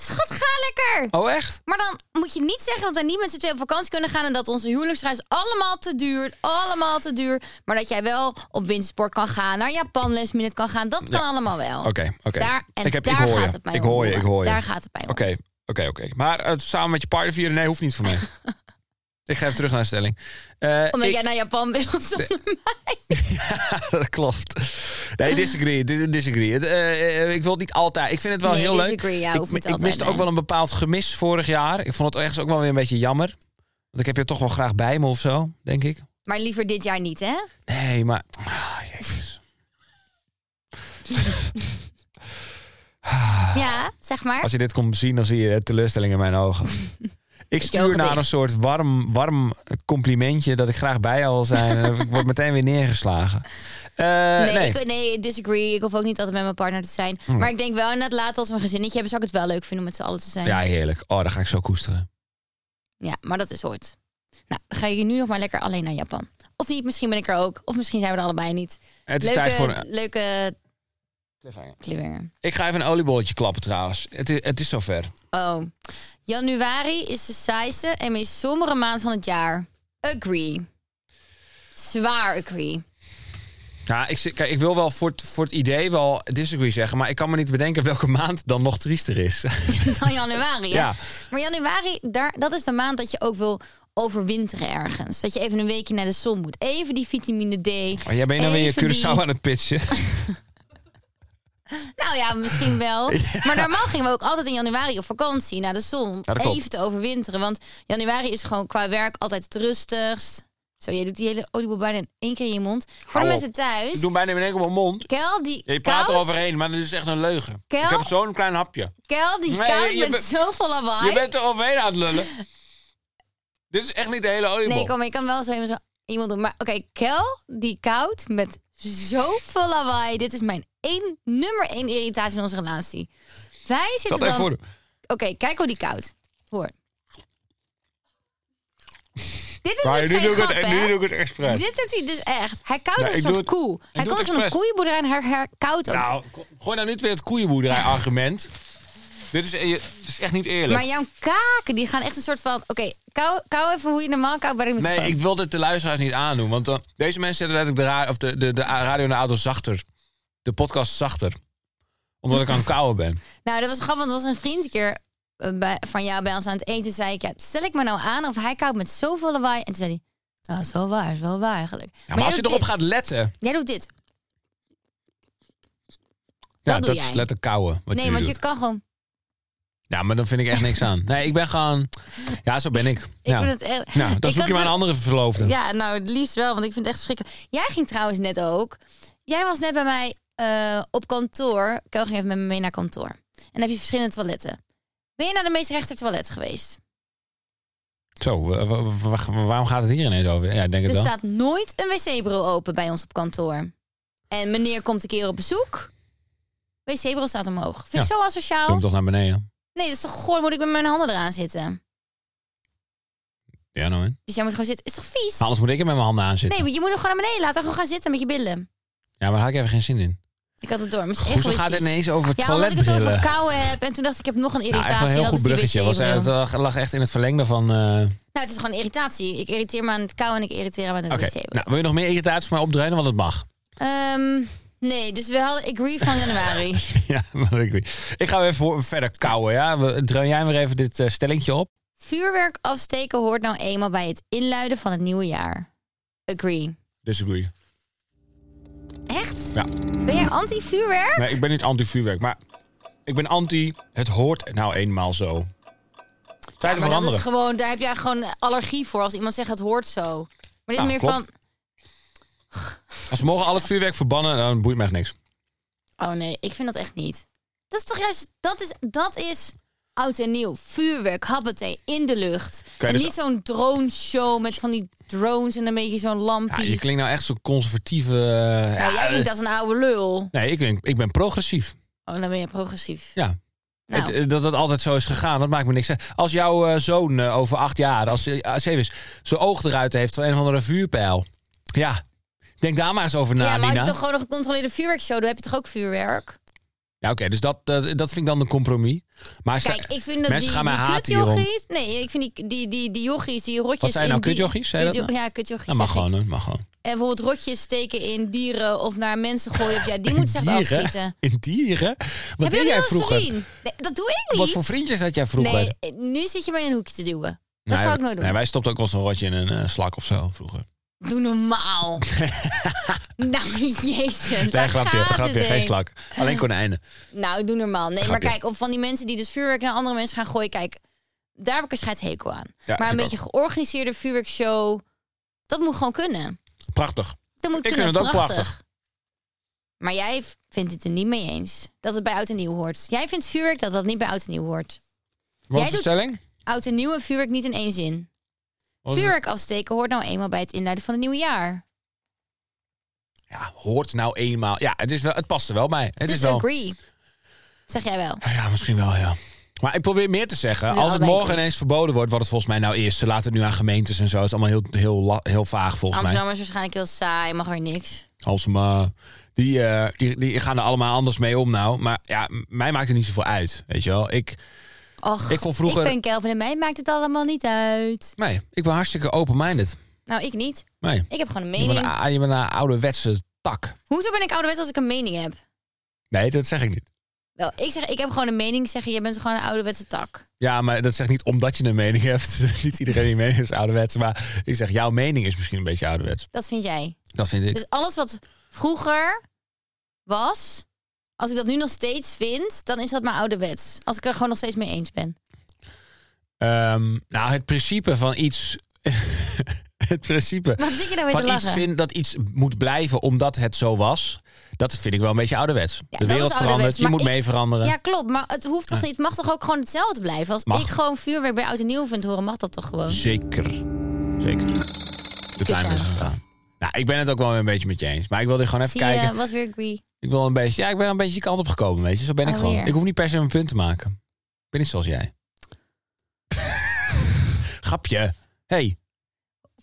[SPEAKER 3] Schat, ga lekker!
[SPEAKER 2] Oh echt?
[SPEAKER 3] Maar dan moet je niet zeggen dat wij niet met z'n tweeën op vakantie kunnen gaan... en dat onze huwelijksreis allemaal te duur, allemaal te duur... maar dat jij wel op wintersport kan gaan, naar Japan last minute kan gaan. Dat kan allemaal wel.
[SPEAKER 2] Oké, oké.
[SPEAKER 3] Daar, en
[SPEAKER 2] Ik heb- ik
[SPEAKER 3] daar
[SPEAKER 2] hoor je.
[SPEAKER 3] gaat het mij
[SPEAKER 2] Ik
[SPEAKER 3] om,
[SPEAKER 2] hoor je,
[SPEAKER 3] Noah.
[SPEAKER 2] ik hoor je.
[SPEAKER 3] Daar gaat het mij om.
[SPEAKER 2] Oké, oké, oké. Maar eh, samen met je partner vieren, nee, hoeft niet voor
[SPEAKER 3] [laughs]
[SPEAKER 2] mij. ik ga even terug naar de stelling. Eh,
[SPEAKER 3] Omdat
[SPEAKER 2] ik-
[SPEAKER 3] jij naar Japan wil zonder mij.
[SPEAKER 2] [laughs] dat klopt. Nee, disagree, di- disagree. Het, eh, eh, ik wil het niet altijd. Ik vind het wel
[SPEAKER 3] Nee,
[SPEAKER 2] heel
[SPEAKER 3] disagree,
[SPEAKER 2] leuk.
[SPEAKER 3] ja,
[SPEAKER 2] ik
[SPEAKER 3] hoeft niet
[SPEAKER 2] ik
[SPEAKER 3] altijd,
[SPEAKER 2] miste
[SPEAKER 3] nee.
[SPEAKER 2] ook wel een bepaald gemis vorig jaar. Ik vond het ergens ook wel weer een beetje jammer. Want ik heb je toch wel graag bij me of zo, denk ik.
[SPEAKER 3] Maar liever dit jaar niet, hè?
[SPEAKER 2] Nee, maar... Ah, jezus.
[SPEAKER 3] Ja, zeg maar.
[SPEAKER 2] Ah. Als je dit komt zien, dan zie je de teleurstelling in mijn ogen.
[SPEAKER 3] [laughs]
[SPEAKER 2] Ik stuur
[SPEAKER 3] ogen
[SPEAKER 2] naar
[SPEAKER 3] dicht.
[SPEAKER 2] een soort warm, warm complimentje dat ik graag bij jou wil zijn. En
[SPEAKER 3] [laughs]
[SPEAKER 2] ik word meteen weer neergeslagen. Eh,
[SPEAKER 3] Nee,
[SPEAKER 2] nee. Mm.
[SPEAKER 3] Ik, nee, disagree. Ik hoef ook niet altijd met mijn partner te zijn. Maar ik denk wel inderdaad, later als we een gezinnetje hebben... zou ik het wel leuk vinden om met z'n allen te zijn.
[SPEAKER 2] Ja, heerlijk. Oh, dan ga ik zo koesteren.
[SPEAKER 3] Ja, maar dat is ooit. Nou, dan ga je nu nog maar lekker alleen naar Japan. Of niet, misschien ben ik er ook. Of misschien zijn we er allebei niet.
[SPEAKER 2] Het is
[SPEAKER 3] leuke,
[SPEAKER 2] tijd voor een-
[SPEAKER 3] Leuke cliffhanger.
[SPEAKER 2] Ik ga even een oliebolletje klappen trouwens. Het is, het is zover.
[SPEAKER 3] Oh. Januari is de saaiste en meest sombere maand van het jaar. Agree. Zwaar agree. [laughs]
[SPEAKER 2] Ja, ik, zit- kijk, ik wil wel voor het, voor het idee wel disagree zeggen. Maar ik kan me niet bedenken welke maand dan nog triester
[SPEAKER 3] [laughs]
[SPEAKER 2] is.
[SPEAKER 3] Dan januari, hè?
[SPEAKER 2] Ja.
[SPEAKER 3] Maar januari, daar, dat is de maand dat je ook wil overwinteren ergens. Dat je even een weekje naar de zon moet. Even die vitamine D.
[SPEAKER 2] Maar Oh, jij bent dan weer je
[SPEAKER 3] even die-
[SPEAKER 2] Curaçao aan het
[SPEAKER 3] [laughs]
[SPEAKER 2] pitchen.
[SPEAKER 3] Nou ja, misschien
[SPEAKER 2] [laughs]
[SPEAKER 3] wel. Maar normaal gingen we ook altijd in januari op vakantie naar de zon. om
[SPEAKER 2] dat klopt.
[SPEAKER 3] even te overwinteren. Want januari is gewoon qua werk altijd het rustigst. Zo, je doet die hele oliebol bijna in één keer in je mond. Voor
[SPEAKER 2] Hou
[SPEAKER 3] de
[SPEAKER 2] op.
[SPEAKER 3] mensen thuis.
[SPEAKER 2] Ik doe bijna in één keer op mijn mond.
[SPEAKER 3] Kel die
[SPEAKER 2] Je praat
[SPEAKER 3] kous-
[SPEAKER 2] er overheen, maar dat is echt een leugen.
[SPEAKER 3] Kel?
[SPEAKER 2] Ik heb zo'n klein hapje.
[SPEAKER 3] Kel die
[SPEAKER 2] Nee,
[SPEAKER 3] kous
[SPEAKER 2] je- je
[SPEAKER 3] met
[SPEAKER 2] bent-
[SPEAKER 3] zoveel lawaai.
[SPEAKER 2] Je bent er overheen aan het lullen. [laughs] Dit is echt niet de hele oliebol.
[SPEAKER 3] Nee, kom, ik kan wel zo iemand, zo iemand doen. Maar oké, Kel die koud met zoveel lawaai. Dit is mijn één, nummer één irritatie in onze relatie. Wij
[SPEAKER 2] Zal
[SPEAKER 3] zitten
[SPEAKER 2] het even
[SPEAKER 3] dan...
[SPEAKER 2] voor doen?
[SPEAKER 3] Oké, kijk hoe die koud. Hoor. [laughs] Dit is
[SPEAKER 2] Maar
[SPEAKER 3] dus
[SPEAKER 2] nu
[SPEAKER 3] geen
[SPEAKER 2] doe ik het-
[SPEAKER 3] gat, hè?
[SPEAKER 2] nu doe ik het expres.
[SPEAKER 3] Dit doet hij dus echt. Hij koudt
[SPEAKER 2] Nee,
[SPEAKER 3] als
[SPEAKER 2] ik doe
[SPEAKER 3] een soort
[SPEAKER 2] het-
[SPEAKER 3] koe.
[SPEAKER 2] ik
[SPEAKER 3] Hij
[SPEAKER 2] doe
[SPEAKER 3] komt
[SPEAKER 2] het
[SPEAKER 3] van een
[SPEAKER 2] expres.
[SPEAKER 3] koeienboerderij en hij herkoudt ook.
[SPEAKER 2] Nou, ko- gooi nou niet weer het koeienboerderij-argument. dit, is, eh, je- dit is echt niet eerlijk.
[SPEAKER 3] maar jouw kaken, die gaan echt een soort van... Oké, kou, kou even hoe je normaal koudt bij de microfoon.
[SPEAKER 2] Nee, ik wil dit de luisteraars niet aandoen. Want dan- deze mensen zetten letterlijk de, ra- of de, de, de radio en de auto zachter. De podcast zachter. Omdat ik aan het kauwen ben.
[SPEAKER 3] Nou, dat was grappig, want er was een vriend een keer eh, bij, van jou bij ons aan het eten. zei ik, ja, stel ik me nou aan of hij koudt met zoveel lawaai. En toen zei hij, nou, dat is wel waar, is wel waar eigenlijk.
[SPEAKER 2] Ja, maar als je
[SPEAKER 3] jij doet
[SPEAKER 2] erop
[SPEAKER 3] dit.
[SPEAKER 2] gaat letten.
[SPEAKER 3] Jij doet dit.
[SPEAKER 2] Ja, dat,
[SPEAKER 3] doe jij.
[SPEAKER 2] is letterlijk kauwen. Wat
[SPEAKER 3] nee,
[SPEAKER 2] je
[SPEAKER 3] want
[SPEAKER 2] doet.
[SPEAKER 3] je kan gewoon...
[SPEAKER 2] Ja, maar dan vind ik echt niks aan. Nee, ik ben gewoon... Ja, zo ben ik.
[SPEAKER 3] Ik
[SPEAKER 2] ja.
[SPEAKER 3] vind het echt...
[SPEAKER 2] Nou,
[SPEAKER 3] Ik
[SPEAKER 2] dan zoek
[SPEAKER 3] had
[SPEAKER 2] je maar een
[SPEAKER 3] toen-
[SPEAKER 2] andere verloofde.
[SPEAKER 3] Ja, nou, het liefst wel, want ik vind het echt verschrikkelijk. Jij ging trouwens net ook. Jij was net bij mij eh, op kantoor. Kel ging even met me mee naar kantoor. En dan heb je verschillende toiletten. Ben je naar de meest rechter toilet geweest?
[SPEAKER 2] Zo, wa- wa- wa- wa- waarom gaat het hier ineens over? Ja, ik denk het
[SPEAKER 3] Er
[SPEAKER 2] wel.
[SPEAKER 3] staat nooit een wc-bureau open bij ons op kantoor. En meneer komt een keer op bezoek. Wc-bureau staat omhoog. Vind ik
[SPEAKER 2] Ja.
[SPEAKER 3] zo
[SPEAKER 2] Doe
[SPEAKER 3] asociaal.
[SPEAKER 2] hem toch naar beneden.
[SPEAKER 3] Nee, dat is toch goor, moet ik met mijn handen eraan zitten.
[SPEAKER 2] Ja, nou hè.
[SPEAKER 3] Dus jij moet gewoon zitten. Is toch vies?
[SPEAKER 2] Anders moet ik er met mijn handen aan
[SPEAKER 3] Nee,
[SPEAKER 2] zitten.
[SPEAKER 3] maar je moet hem gewoon naar beneden laten. Gewoon gaan zitten met je billen.
[SPEAKER 2] Ja, maar daar had ik even geen zin in.
[SPEAKER 3] Ik had het door. Misschien
[SPEAKER 2] Hoezo gaat het
[SPEAKER 3] egoïstisch.
[SPEAKER 2] ineens over
[SPEAKER 3] Ja, omdat ik het
[SPEAKER 2] toiletbrillen?
[SPEAKER 3] over kou heb. En toen dacht ik, ik heb nog een
[SPEAKER 2] Ja,
[SPEAKER 3] irritatie.
[SPEAKER 2] Nou, echt een heel
[SPEAKER 3] en dat
[SPEAKER 2] goed
[SPEAKER 3] is die
[SPEAKER 2] bruggetje. Was,
[SPEAKER 3] wc-bril.
[SPEAKER 2] het eh, lag echt in het verlengde van... eh,
[SPEAKER 3] Nou, het is gewoon irritatie. Ik irriteer me aan het kou en ik irriteer me aan de
[SPEAKER 2] Oké,
[SPEAKER 3] wc-bril.
[SPEAKER 2] nou, wil je nog meer irritaties voor mij opdreunen? Want dat mag. [laughs]
[SPEAKER 3] Ehm, nee, dus we hadden agree van
[SPEAKER 2] [laughs]
[SPEAKER 3] januari.
[SPEAKER 2] ja, maar ik, weet- ik ga weer voor, verder kouwen, ja. We- Dreun jij maar even dit eh, stellingtje op?
[SPEAKER 3] Vuurwerk afsteken hoort nou eenmaal bij het inluiden van het nieuwe jaar. Agree.
[SPEAKER 2] Disagree.
[SPEAKER 3] Echt?
[SPEAKER 2] Ja.
[SPEAKER 3] Ben jij anti-vuurwerk?
[SPEAKER 2] Nee, ik ben niet anti-vuurwerk, maar ik ben anti... Het hoort nou eenmaal zo.
[SPEAKER 3] Ja,
[SPEAKER 2] Tijden
[SPEAKER 3] maar dat is
[SPEAKER 2] veranderen.
[SPEAKER 3] gewoon, daar heb jij gewoon allergie voor als iemand zegt het hoort zo. Maar dit
[SPEAKER 2] Nou,
[SPEAKER 3] is meer
[SPEAKER 2] klopt.
[SPEAKER 3] van,
[SPEAKER 2] Als we mogen al het vuurwerk verbannen, dan boeit mij echt niks.
[SPEAKER 3] oh nee, ik vind dat echt niet. Dat is toch juist, dat is, dat is oud en nieuw. Vuurwerk, habbetee, in de lucht.
[SPEAKER 2] Oké,
[SPEAKER 3] en
[SPEAKER 2] dus-
[SPEAKER 3] niet zo'n drone show met van die drones en een beetje zo'n
[SPEAKER 2] Ja,
[SPEAKER 3] lampje.
[SPEAKER 2] je klinkt nou echt zo'n conservatieve... eh,
[SPEAKER 3] nou, jij
[SPEAKER 2] ja,
[SPEAKER 3] klinkt als een oude lul.
[SPEAKER 2] Nee, ik, ben- ik ben progressief.
[SPEAKER 3] Oh, dan ben je progressief.
[SPEAKER 2] Ja.
[SPEAKER 3] Nou.
[SPEAKER 2] Het, eh, dat dat altijd zo is gegaan, dat maakt me niks uit. Als jouw eh, zoon eh, over acht jaar, als hij als hij is, zijn oog eruit heeft van een of andere vuurpijl. Ja, denk daar maar eens over na,
[SPEAKER 3] ja, maar
[SPEAKER 2] Nou, Nina.
[SPEAKER 3] als je toch gewoon een gecontroleerde vuurwerkshow doet, heb je toch ook vuurwerk?
[SPEAKER 2] Ja, oké, dus dat, eh, dat vind ik dan een compromis. Maar ze-
[SPEAKER 3] Kijk, ik vind dat
[SPEAKER 2] mensen
[SPEAKER 3] die,
[SPEAKER 2] gaan mij
[SPEAKER 3] die
[SPEAKER 2] haten hierom.
[SPEAKER 3] kutjochies... Nee, ik vind die, die, die, die jochies, die rotjes...
[SPEAKER 2] Wat zijn
[SPEAKER 3] in
[SPEAKER 2] nou
[SPEAKER 3] die-
[SPEAKER 2] kutjochies? Zei je
[SPEAKER 3] die
[SPEAKER 2] dat
[SPEAKER 3] jo- Ja, kutjochies
[SPEAKER 2] Dat mag
[SPEAKER 3] zeg ik.
[SPEAKER 2] gewoon, hè, mag gewoon.
[SPEAKER 3] En bijvoorbeeld rotjes steken in dieren of naar mensen gooien. Of, ja,
[SPEAKER 2] [laughs]
[SPEAKER 3] die moeten ze echt
[SPEAKER 2] Dieren?
[SPEAKER 3] afschieten.
[SPEAKER 2] In dieren? Wat
[SPEAKER 3] Heb je
[SPEAKER 2] deed
[SPEAKER 3] dat
[SPEAKER 2] jij
[SPEAKER 3] niet eens
[SPEAKER 2] vroeger?
[SPEAKER 3] gezien? Nee, dat doe ik niet.
[SPEAKER 2] Wat voor vriendjes had jij vroeger?
[SPEAKER 3] Nee, nu zit je mij in een hoekje te duwen. Dat
[SPEAKER 2] Nee,
[SPEAKER 3] zou ik nooit doen.
[SPEAKER 2] Nee, wij stopten ook wel zo'n rotje in een eh, slak of zo vroeger. [laughs]
[SPEAKER 3] Doe normaal. nou, jezus.
[SPEAKER 2] Nee,
[SPEAKER 3] waar
[SPEAKER 2] grapje,
[SPEAKER 3] gaat
[SPEAKER 2] grapje,
[SPEAKER 3] het
[SPEAKER 2] geen
[SPEAKER 3] heen?
[SPEAKER 2] slak. Alleen konijnen.
[SPEAKER 3] Nou, doe normaal. Nee, maar
[SPEAKER 2] Grapje.
[SPEAKER 3] kijk, of van die mensen die dus vuurwerk naar andere mensen gaan gooien. Kijk, daar heb ik een scheidhekel aan.
[SPEAKER 2] Ja,
[SPEAKER 3] maar een
[SPEAKER 2] ik
[SPEAKER 3] beetje georganiseerde vuurwerkshow, dat moet gewoon kunnen.
[SPEAKER 2] Prachtig.
[SPEAKER 3] Dat moet
[SPEAKER 2] Ik
[SPEAKER 3] kunnen,
[SPEAKER 2] vind het ook
[SPEAKER 3] prachtig.
[SPEAKER 2] prachtig.
[SPEAKER 3] Maar jij v- vindt het er niet mee eens dat het bij Oud en Nieuw hoort. Jij vindt vuurwerk dat dat niet bij Oud en Nieuw hoort.
[SPEAKER 2] Wat
[SPEAKER 3] Jij
[SPEAKER 2] is de
[SPEAKER 3] doet-
[SPEAKER 2] stelling?
[SPEAKER 3] Oud en Nieuw en vuurwerk niet in één zin.
[SPEAKER 2] Wat is het?
[SPEAKER 3] Vuurwerk afsteken hoort nou eenmaal bij het inluiden van het nieuwe jaar.
[SPEAKER 2] Ja, hoort nou eenmaal. Ja, het, is wel, het past er wel bij. Het is
[SPEAKER 3] dus
[SPEAKER 2] wel.
[SPEAKER 3] agree. Zeg jij wel.
[SPEAKER 2] Ja, misschien wel, ja. Maar ik probeer meer te zeggen.
[SPEAKER 3] Nou,
[SPEAKER 2] Als het
[SPEAKER 3] wij-
[SPEAKER 2] morgen ineens verboden wordt, wat het volgens mij nou is. Ze laten het nu aan gemeentes en zo. Het is allemaal heel, heel, la- heel vaag volgens mij.
[SPEAKER 3] Amsterdam is waarschijnlijk heel saai, mag weer niks.
[SPEAKER 2] Halsema. Die, eh, die, die gaan er allemaal anders mee om nou. Maar ja, m- mij maakt het niet zoveel uit. Weet je wel? Ik,
[SPEAKER 3] Och,
[SPEAKER 2] Ik vond vroeger-
[SPEAKER 3] ik ben Kelvin en mij maakt het allemaal niet uit.
[SPEAKER 2] nee, ik ben hartstikke open-minded.
[SPEAKER 3] Nou, ik niet.
[SPEAKER 2] Nee.
[SPEAKER 3] Ik heb gewoon een
[SPEAKER 2] Je bent,
[SPEAKER 3] mening.
[SPEAKER 2] een, a- je bent een ouderwetse tak.
[SPEAKER 3] Hoezo ben ik ouderwets als ik een mening heb?
[SPEAKER 2] Nee, dat zeg ik niet.
[SPEAKER 3] Wel, ik zeg, ik heb gewoon een mening. Zeg je, je bent gewoon een ouderwetse tak.
[SPEAKER 2] Ja, maar dat zegt niet omdat je een mening hebt. [laughs] niet iedereen die een mening heeft is ouderwets. Maar ik zeg, jouw mening is misschien een beetje ouderwets.
[SPEAKER 3] Dat vind jij.
[SPEAKER 2] Dat vind ik.
[SPEAKER 3] Dus alles wat vroeger was, als ik dat nu nog steeds vind, dan is dat mijn ouderwets. Als ik er gewoon nog steeds mee eens ben.
[SPEAKER 2] Ehm, nou, het principe van iets. [laughs] het principe.
[SPEAKER 3] Wat zit je nou weer te
[SPEAKER 2] van iets
[SPEAKER 3] lachen?
[SPEAKER 2] vind, dat iets moet blijven omdat het zo was. Dat vind ik wel een beetje ouderwets. de
[SPEAKER 3] Ja, dat is
[SPEAKER 2] wereld verandert,
[SPEAKER 3] ouderwets,
[SPEAKER 2] je
[SPEAKER 3] maar
[SPEAKER 2] moet
[SPEAKER 3] ik-
[SPEAKER 2] mee veranderen.
[SPEAKER 3] Ja, klopt. Maar het hoeft toch niet. Het mag toch ook gewoon hetzelfde blijven? Als
[SPEAKER 2] Mag.
[SPEAKER 3] ik gewoon vuurwerk bij oud en nieuw vind horen, mag dat toch gewoon?
[SPEAKER 2] Zeker. Zeker. De timer is
[SPEAKER 3] timer.
[SPEAKER 2] gegaan. Nou, ik ben het ook wel een beetje met je eens. Maar ik wilde gewoon even
[SPEAKER 3] Zie
[SPEAKER 2] kijken.
[SPEAKER 3] je, was weer agree.
[SPEAKER 2] Ik wil een beetje. Ja, ik ben een beetje die kant op gekomen, weet je. Zo ben ik
[SPEAKER 3] Alweer.
[SPEAKER 2] gewoon. Ik hoef niet per se mijn punt te maken. Ik
[SPEAKER 3] [laughs]
[SPEAKER 2] ben niet zoals jij. Grapje. Hey,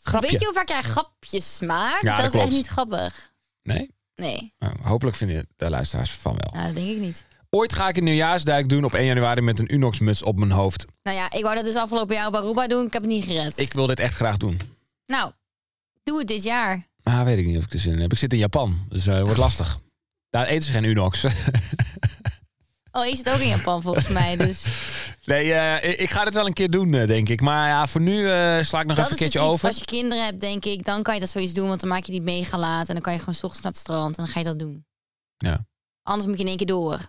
[SPEAKER 2] Grapje.
[SPEAKER 3] Weet je hoe vaak jij grapjes maakt?
[SPEAKER 2] Ja,
[SPEAKER 3] dat,
[SPEAKER 2] dat
[SPEAKER 3] is
[SPEAKER 2] klopt.
[SPEAKER 3] echt niet grappig.
[SPEAKER 2] Nee?
[SPEAKER 3] Nee,
[SPEAKER 2] Nou, hopelijk vinden de luisteraars van wel.
[SPEAKER 3] nou, dat denk ik niet.
[SPEAKER 2] Ooit ga ik een nieuwjaarsduik doen op 1 januari met een Unox-muts op mijn hoofd.
[SPEAKER 3] Nou ja, ik wou dat dus afgelopen jaar op Aruba doen. Ik heb het niet gered.
[SPEAKER 2] Ik wil dit echt graag doen.
[SPEAKER 3] Nou, doe het dit jaar.
[SPEAKER 2] Ah, weet ik niet of ik er zin in heb. Ik zit in Japan, dus eh, het
[SPEAKER 3] [laughs]
[SPEAKER 2] wordt lastig. Daar eten ze geen Unox. [laughs]
[SPEAKER 3] Oh, je zit ook in Japan volgens
[SPEAKER 2] [laughs]
[SPEAKER 3] mij, dus...
[SPEAKER 2] nee, eh, ik- ik ga dit wel een keer doen, eh, denk ik. Maar ja, voor nu eh, sla ik nog even
[SPEAKER 3] Dat is
[SPEAKER 2] een
[SPEAKER 3] dus
[SPEAKER 2] keertje
[SPEAKER 3] iets,
[SPEAKER 2] over.
[SPEAKER 3] als je kinderen hebt, denk ik, dan kan je dat zoiets doen. Want dan maak je die mega laat en dan kan je gewoon 's ochtends naar het strand en dan ga je dat doen.
[SPEAKER 2] Ja.
[SPEAKER 3] Anders moet je in één keer door.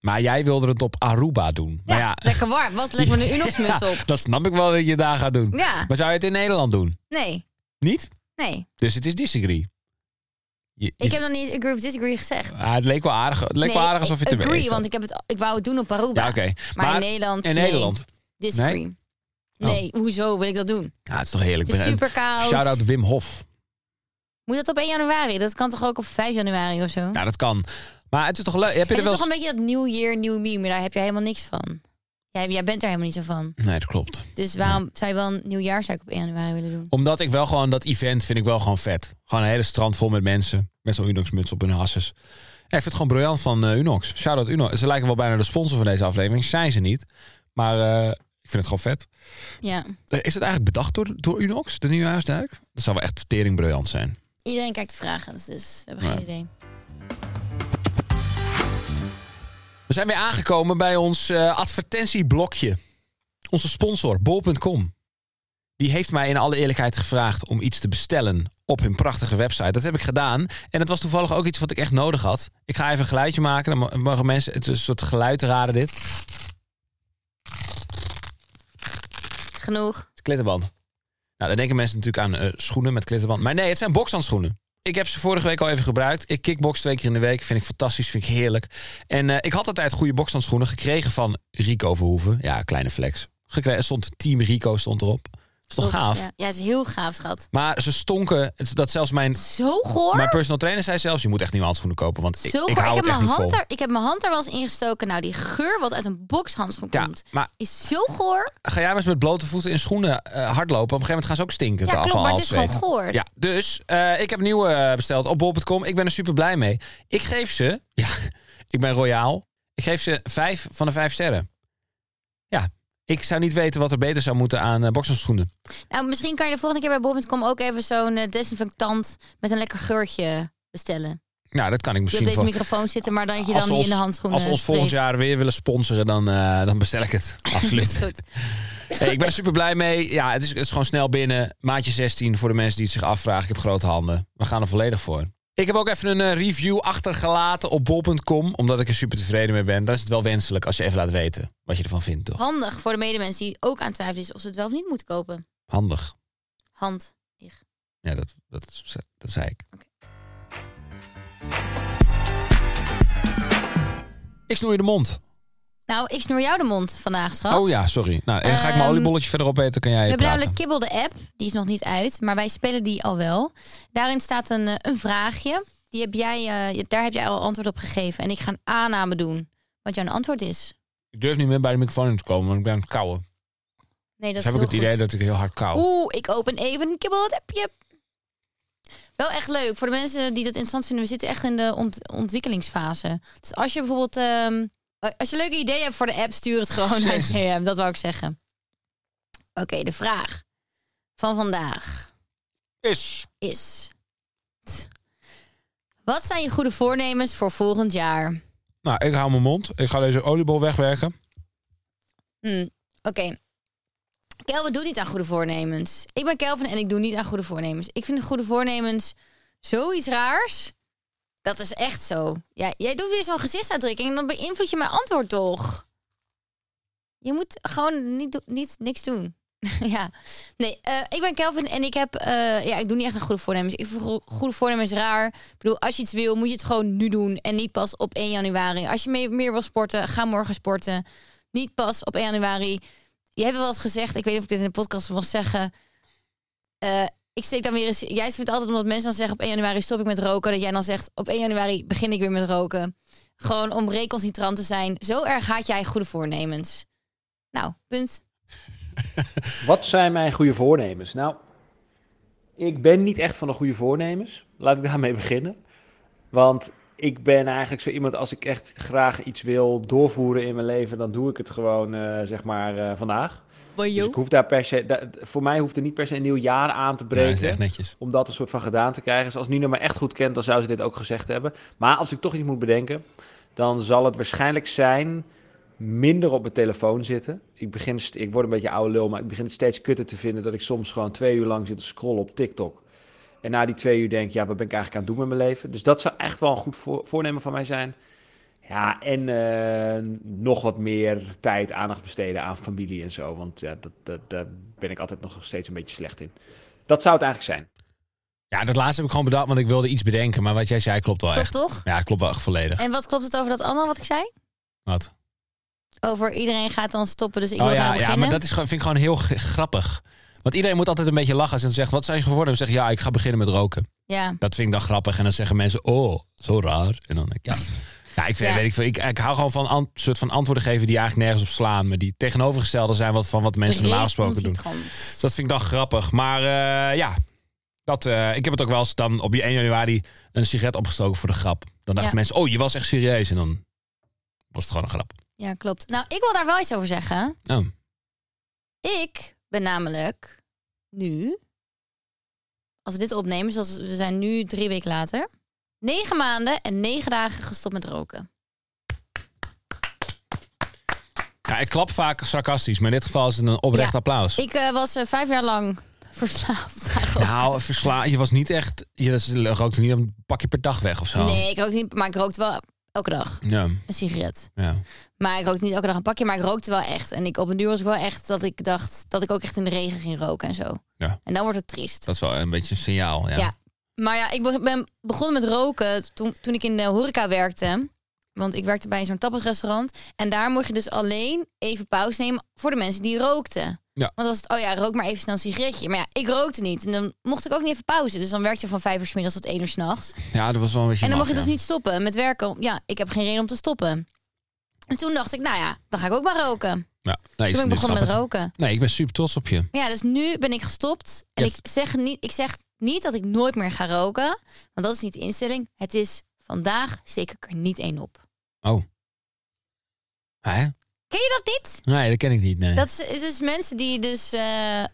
[SPEAKER 2] Maar jij wilde het op Aruba doen.
[SPEAKER 3] Ja,
[SPEAKER 2] maar Nou ja,
[SPEAKER 3] lekker warm. Was
[SPEAKER 2] [laughs]
[SPEAKER 3] leg maar een Unox-muts
[SPEAKER 2] ja,
[SPEAKER 3] op.
[SPEAKER 2] dat snap ik wel dat je daar gaat doen.
[SPEAKER 3] Ja,
[SPEAKER 2] Maar zou je het in Nederland doen?
[SPEAKER 3] nee,
[SPEAKER 2] Niet?
[SPEAKER 3] nee.
[SPEAKER 2] Dus het is disagree. Je- je-
[SPEAKER 3] Ik heb nog niet eens agree of disagree gezegd.
[SPEAKER 2] Ah, het leek wel aardig, het leek
[SPEAKER 3] nee,
[SPEAKER 2] wel aardig alsof je het
[SPEAKER 3] agree,
[SPEAKER 2] ermee eens had.
[SPEAKER 3] want ik, heb het, ik wou het doen op Aruba.
[SPEAKER 2] Ja, oké.
[SPEAKER 3] maar, in Nederland,
[SPEAKER 2] In
[SPEAKER 3] nee.
[SPEAKER 2] Nederland.
[SPEAKER 3] Disagree. Nee,
[SPEAKER 2] Oh.
[SPEAKER 3] hoezo wil ik dat doen?
[SPEAKER 2] Ja, het is toch heerlijk.
[SPEAKER 3] Het is
[SPEAKER 2] Ik ben-
[SPEAKER 3] super koud.
[SPEAKER 2] Shout-out Wim Hof.
[SPEAKER 3] Moet dat op 1 januari? Dat kan toch ook op 5 januari of zo?
[SPEAKER 2] Ja, dat kan. Maar het is toch leuk. Heb je
[SPEAKER 3] het
[SPEAKER 2] er
[SPEAKER 3] is
[SPEAKER 2] wel
[SPEAKER 3] toch een beetje dat nieuw year, nieuw me, maar daar heb je helemaal niks van. Jij, jij bent er helemaal niet zo van.
[SPEAKER 2] eens- Nee, dat klopt.
[SPEAKER 3] Dus waarom zou je wel een nieuwjaarsduik op 1 januari willen doen?
[SPEAKER 2] Omdat ik wel gewoon dat event vind ik wel gewoon vet. Gewoon een hele strand vol met mensen. Met zo'n Unox-muts op hun hasses. Ja, ik vind het gewoon briljant van eh, Unox. Shout-out Unox. Ze lijken wel bijna de sponsor van deze aflevering. Zijn ze niet. Maar eh, ik vind het gewoon vet.
[SPEAKER 3] Ja.
[SPEAKER 2] Eh, Is het eigenlijk bedacht door, door Unox, de nieuwjaarsduik? Dat zou wel echt tering briljant zijn.
[SPEAKER 3] Iedereen kijkt de vragen, dus we hebben geen
[SPEAKER 2] Ja.
[SPEAKER 3] idee.
[SPEAKER 2] We zijn weer aangekomen bij ons eh, advertentieblokje. Onze sponsor, bol.com. Die heeft mij in alle eerlijkheid gevraagd om iets te bestellen op hun prachtige website. Dat heb ik gedaan. En dat was toevallig ook iets wat ik echt nodig had. Ik ga even een geluidje maken. Dan mo- mogen mensen... Het is een soort geluid raden dit. Het
[SPEAKER 3] Genoeg.
[SPEAKER 2] is klittenband. Nou, dan denken mensen natuurlijk aan eh, schoenen met klittenband. Maar nee, het zijn bokshandschoenen. Ik heb ze vorige week al even gebruikt. Ik kickbox twee keer in de week. Vind ik fantastisch, vind ik heerlijk. En eh, ik had altijd goede bokshandschoenen gekregen van Rico Verhoeven. Ja, kleine flex. Gekregen, er stond Team Rico stond erop. Is toch
[SPEAKER 3] Klopt,
[SPEAKER 2] gaaf?
[SPEAKER 3] Ja. ja, het is heel gaaf, schat.
[SPEAKER 2] Maar ze stonken. Het- Dat zelfs mijn,
[SPEAKER 3] Zo goor.
[SPEAKER 2] mijn personal trainer zei zelfs... je moet echt nieuwe handschoenen kopen, want ik,
[SPEAKER 3] Zo
[SPEAKER 2] ik
[SPEAKER 3] goor.
[SPEAKER 2] hou
[SPEAKER 3] heb
[SPEAKER 2] het echt
[SPEAKER 3] mijn
[SPEAKER 2] niet vol.
[SPEAKER 3] hand daar, ik heb mijn hand daar wel eens ingestoken. Nou, die geur wat uit een bokshandschoen
[SPEAKER 2] Ja,
[SPEAKER 3] komt,
[SPEAKER 2] maar
[SPEAKER 3] is zo goor.
[SPEAKER 2] ga jij maar eens met blote voeten in schoenen eh, hardlopen. Op een gegeven moment gaan ze ook stinken.
[SPEAKER 3] Ja,
[SPEAKER 2] de
[SPEAKER 3] klopt,
[SPEAKER 2] afval
[SPEAKER 3] maar het is gewoon
[SPEAKER 2] halsweet.
[SPEAKER 3] goor.
[SPEAKER 2] Ja, dus eh, ik heb nieuwe eh, besteld op bol.com. Ik ben er super blij mee. Ik geef ze, [laughs] ja, ik ben royaal. Ik geef ze vijf van de vijf sterren. Ja, ik zou niet weten wat er beter zou moeten aan eh bokshandschoenen.
[SPEAKER 3] Nou, misschien kan je de volgende keer bij bol.com ook even zo'n eh, desinfectant met een lekker geurtje bestellen.
[SPEAKER 2] Nou, dat kan ik
[SPEAKER 3] Die op
[SPEAKER 2] misschien
[SPEAKER 3] deze
[SPEAKER 2] voor.
[SPEAKER 3] microfoon zitten, maar dan dat je dan
[SPEAKER 2] als ze
[SPEAKER 3] niet in de eh,
[SPEAKER 2] ons-
[SPEAKER 3] handschoenen
[SPEAKER 2] Als ze ons volgend
[SPEAKER 3] spreekt.
[SPEAKER 2] jaar weer willen sponsoren, dan, eh, dan bestel ik
[SPEAKER 3] [laughs]
[SPEAKER 2] het. Absoluut.
[SPEAKER 3] Goed.
[SPEAKER 2] Hey, ik ben er super blij mee. Ja, het is, het is gewoon snel binnen. Maatje 16 voor de mensen die het zich afvragen. Ik heb grote handen. We gaan er volledig voor. Ik heb ook even een eh, review achtergelaten op bol.com. Omdat ik er super tevreden mee ben. Dan is het wel wenselijk als je even laat weten wat je ervan vindt, toch?
[SPEAKER 3] Handig voor de medemensen die ook aan het twijfelen is of ze het wel of niet moeten kopen.
[SPEAKER 2] Handig.
[SPEAKER 3] Hand.
[SPEAKER 2] Ja, dat, dat, is- dat zei ik. Ik snoei de mond.
[SPEAKER 3] Nou, ik snoer jou de mond vandaag, schat.
[SPEAKER 2] Oh ja, sorry. Nou, en dan ga ik mijn
[SPEAKER 3] Ehm,
[SPEAKER 2] oliebolletje verder opeten. Kan jij
[SPEAKER 3] We hebben
[SPEAKER 2] praten?
[SPEAKER 3] namelijk Kibbel de app, die is nog niet uit, maar wij spelen die al wel. Daarin staat een, eh, een vraagje, die heb jij, eh, daar heb jij al antwoord op gegeven. En ik ga een aanname doen, wat jouw antwoord is.
[SPEAKER 2] Ik durf niet meer bij de microfoon in te komen, want ik ben aan het kauwen.
[SPEAKER 3] Nee, dat
[SPEAKER 2] Dus heb ik
[SPEAKER 3] is
[SPEAKER 2] het
[SPEAKER 3] heel
[SPEAKER 2] idee
[SPEAKER 3] goed.
[SPEAKER 2] dat ik heel hard kauw.
[SPEAKER 3] Oeh, ik open even een Kibbel de appje. Wel echt leuk, voor de mensen die dat interessant vinden, we zitten echt in de ont- ontwikkelingsfase. Dus als je bijvoorbeeld, ehm, als je leuke ideeën hebt voor de app, stuur het
[SPEAKER 2] [laughs]
[SPEAKER 3] gewoon naar de DM, dat wou ik zeggen. Oké, de vraag van vandaag.
[SPEAKER 2] Is.
[SPEAKER 3] is. Wat zijn je goede voornemens voor volgend jaar?
[SPEAKER 2] Nou, ik hou mijn mond. Ik ga deze oliebol wegwerken.
[SPEAKER 3] Hm, Oké. Kelvin doet niet aan goede voornemens. Ik ben Kelvin en ik doe niet aan goede voornemens. Ik vind goede voornemens zoiets raars. Dat is echt zo. Ja, jij doet weer zo'n gezichtsuitdrukking en dan beïnvloed je mijn antwoord toch? Je moet gewoon niet, do- niet niks doen. [laughs] ja. Nee, eh, ik ben Kelvin en ik heb... eh, ja, ik doe niet echt aan goede voornemens. Ik vind go- goede voornemens raar. Ik bedoel, als je iets wil, moet je het gewoon nu doen. En niet pas op 1 januari. Als je mee- meer wil sporten, ga morgen sporten. Niet pas op 1 januari. Je hebt wel eens gezegd, ik weet niet of ik dit in de podcast mag zeggen. Eh, ik steek dan weer eens. Jij vindt altijd omdat mensen dan zeggen op 1 januari stop ik met roken. Dat jij dan zegt op 1 januari begin ik weer met roken. Gewoon om recalcitrant te zijn. Zo erg haat jij goede voornemens. Nou, punt.
[SPEAKER 5] Wat zijn mijn goede voornemens? Nou, ik ben niet echt van de goede voornemens. Laat ik daarmee beginnen. Want ik ben eigenlijk zo iemand, als ik echt graag iets wil doorvoeren in mijn leven, dan doe ik het gewoon, eh, zeg maar, eh, vandaag. Dus ik hoef daar per se, da- voor mij hoeft er niet per se een nieuw jaar aan te
[SPEAKER 2] Ja, dat
[SPEAKER 5] breken
[SPEAKER 2] is echt netjes.
[SPEAKER 5] om dat een soort van gedaan te krijgen. Dus als Nina me echt goed kent, dan zou ze dit ook gezegd hebben. Maar als ik toch iets moet bedenken, dan zal het waarschijnlijk zijn minder op mijn telefoon zitten. Ik, begin, st- ik word een beetje oude lul, maar ik begin het steeds kutter te vinden dat ik soms gewoon twee uur lang zit te scrollen op TikTok. En na die twee uur denk ik, ja, wat ben ik eigenlijk aan het doen met mijn leven? Dus dat zou echt wel een goed voor- voornemen van mij zijn. Ja, en eh, nog wat meer tijd, aandacht besteden aan familie en zo. Want ja, dat, dat, daar ben ik altijd nog steeds een beetje slecht in. Dat zou het eigenlijk zijn.
[SPEAKER 2] Ja, dat laatste heb ik gewoon bedacht, want ik wilde iets bedenken. Maar wat jij zei klopt wel
[SPEAKER 3] Klopt
[SPEAKER 2] echt.
[SPEAKER 3] toch?
[SPEAKER 2] Ja, klopt wel echt volledig.
[SPEAKER 3] En wat klopt het over dat andere wat ik zei?
[SPEAKER 2] Wat?
[SPEAKER 3] Over iedereen gaat dan stoppen, dus ik
[SPEAKER 2] Oh
[SPEAKER 3] wil
[SPEAKER 2] ja,
[SPEAKER 3] daar
[SPEAKER 2] ja,
[SPEAKER 3] beginnen.
[SPEAKER 2] maar dat is, gewoon- vind ik gewoon heel g- grappig. Want iedereen moet altijd een beetje lachen als je dan zegt, wat zijn je geworden? En dan zeg je, ja, ik ga beginnen met roken.
[SPEAKER 3] Ja.
[SPEAKER 2] Dat vind ik dan grappig. En dan zeggen mensen, oh, zo raar. En dan denk ik, ja. ja, ik, vind,
[SPEAKER 3] Ja.
[SPEAKER 2] Weet ik, veel. ik, ik hou gewoon van een soort van antwoorden geven die eigenlijk nergens op slaan. Maar die tegenovergestelde zijn wat, van wat mensen normaal gesproken doen.
[SPEAKER 3] Recalcitrant.
[SPEAKER 2] Dat vind ik dan grappig. Maar eh, ja, dat, eh, ik heb het ook wel eens dan op die 1 januari een sigaret opgestoken voor de grap. Dan dachten
[SPEAKER 3] Ja.
[SPEAKER 2] mensen, oh, je was echt serieus. En dan was het gewoon een grap.
[SPEAKER 3] Ja, klopt. Nou, ik wil daar wel iets over zeggen.
[SPEAKER 2] Oh,
[SPEAKER 3] Ik ben namelijk nu, als we dit opnemen, zoals we zijn nu drie weken later, negen maanden en negen dagen gestopt met roken.
[SPEAKER 2] Ja, ik klap vaak sarcastisch, maar in dit geval is het een oprecht
[SPEAKER 3] Ja.
[SPEAKER 2] applaus.
[SPEAKER 3] Ik eh, was eh, vijf jaar lang [laughs] verslaafd. eigenlijk.
[SPEAKER 2] Nou, versla, je was niet echt, je rookte niet een pakje per dag weg of zo.
[SPEAKER 3] Nee, ik rook niet, maar ik rookte wel elke dag
[SPEAKER 2] Ja,
[SPEAKER 3] een sigaret.
[SPEAKER 2] ja.
[SPEAKER 3] Maar ik rookte niet elke dag een pakje, maar ik rookte wel echt. En ik op een duur was ik wel echt dat ik dacht dat ik ook echt in de regen ging roken en zo.
[SPEAKER 2] Ja.
[SPEAKER 3] En dan wordt het triest.
[SPEAKER 2] Dus dat is wel een beetje een signaal. Ja.
[SPEAKER 3] Ja. Maar ja, ik be- ben begonnen met roken toen, toen ik in de horeca werkte. Want ik werkte bij zo'n tapasrestaurant. En daar mocht je dus alleen even pauze nemen voor de mensen die rookten.
[SPEAKER 2] Ja.
[SPEAKER 3] Want als het, oh ja, rook maar even snel een sigaretje. Maar ja, ik rookte niet. En dan mocht ik ook niet even pauze. Dus dan werkte je van vijf uur 's middags tot één uur s'nachts.
[SPEAKER 2] Ja, dat was wel een beetje
[SPEAKER 3] En dan
[SPEAKER 2] maf,
[SPEAKER 3] mocht je dus
[SPEAKER 2] ja.
[SPEAKER 3] niet stoppen met werken. Ja, ik heb geen reden om te stoppen. En toen dacht ik, nou ja, dan ga ik ook maar roken. Dus
[SPEAKER 2] Ja. Nee,
[SPEAKER 3] Toen ben
[SPEAKER 2] ik
[SPEAKER 3] ik begonnen
[SPEAKER 2] snap
[SPEAKER 3] met
[SPEAKER 2] het.
[SPEAKER 3] roken.
[SPEAKER 2] Nee, ik ben super trots op je.
[SPEAKER 3] Maar ja, dus nu ben ik gestopt. En
[SPEAKER 2] Je
[SPEAKER 3] ik, zeg niet, ik zeg niet dat ik nooit meer ga roken. Want dat is niet de instelling. Het is vandaag steek ik er niet één op.
[SPEAKER 2] Oh. Hè?
[SPEAKER 3] Ken je dat niet?
[SPEAKER 2] Nee, dat ken ik niet. Nee.
[SPEAKER 3] Dat is, het is mensen die dus eh,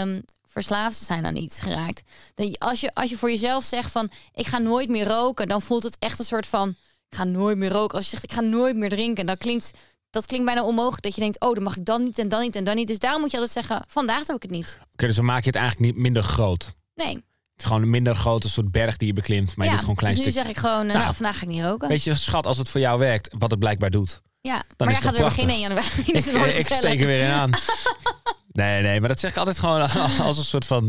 [SPEAKER 3] ehm, verslaafd zijn aan iets geraakt. Dat je- Als je, als je voor jezelf zegt van ik ga nooit meer roken, dan voelt het echt een soort van ik ga nooit meer roken. Als je zegt ik ga nooit meer drinken, dan klinkt dat klinkt bijna onmogelijk. Dat je denkt oh dan mag ik dan niet en dan niet en dan niet. Dus daarom moet je altijd zeggen vandaag doe ik het niet.
[SPEAKER 2] Oké, dus dan maak je het eigenlijk niet minder groot. Het
[SPEAKER 3] Nee.
[SPEAKER 2] is gewoon een minder grote soort berg die je beklimt, maar je doet
[SPEAKER 3] ja,
[SPEAKER 2] gewoon een klein
[SPEAKER 3] dus nu
[SPEAKER 2] stuk.
[SPEAKER 3] zeg ik gewoon eh,
[SPEAKER 2] Nou,
[SPEAKER 3] nou vandaag ga ik niet roken.
[SPEAKER 2] Weet je, schat, als het voor jou werkt, wat het blijkbaar
[SPEAKER 3] [laughs]
[SPEAKER 2] doet.
[SPEAKER 3] ja.
[SPEAKER 2] dan
[SPEAKER 3] Maar
[SPEAKER 2] is
[SPEAKER 3] jij
[SPEAKER 2] het
[SPEAKER 3] gaat
[SPEAKER 2] toch prachtig.
[SPEAKER 3] weer beginnen in
[SPEAKER 2] [laughs]
[SPEAKER 3] januari. Dus
[SPEAKER 2] ik,
[SPEAKER 3] het wordt
[SPEAKER 2] eh, ik
[SPEAKER 3] gezellig.
[SPEAKER 2] steek er weer in
[SPEAKER 3] [laughs]
[SPEAKER 2] aan. Nee, nee, maar dat zeg ik altijd gewoon [laughs] als een soort van,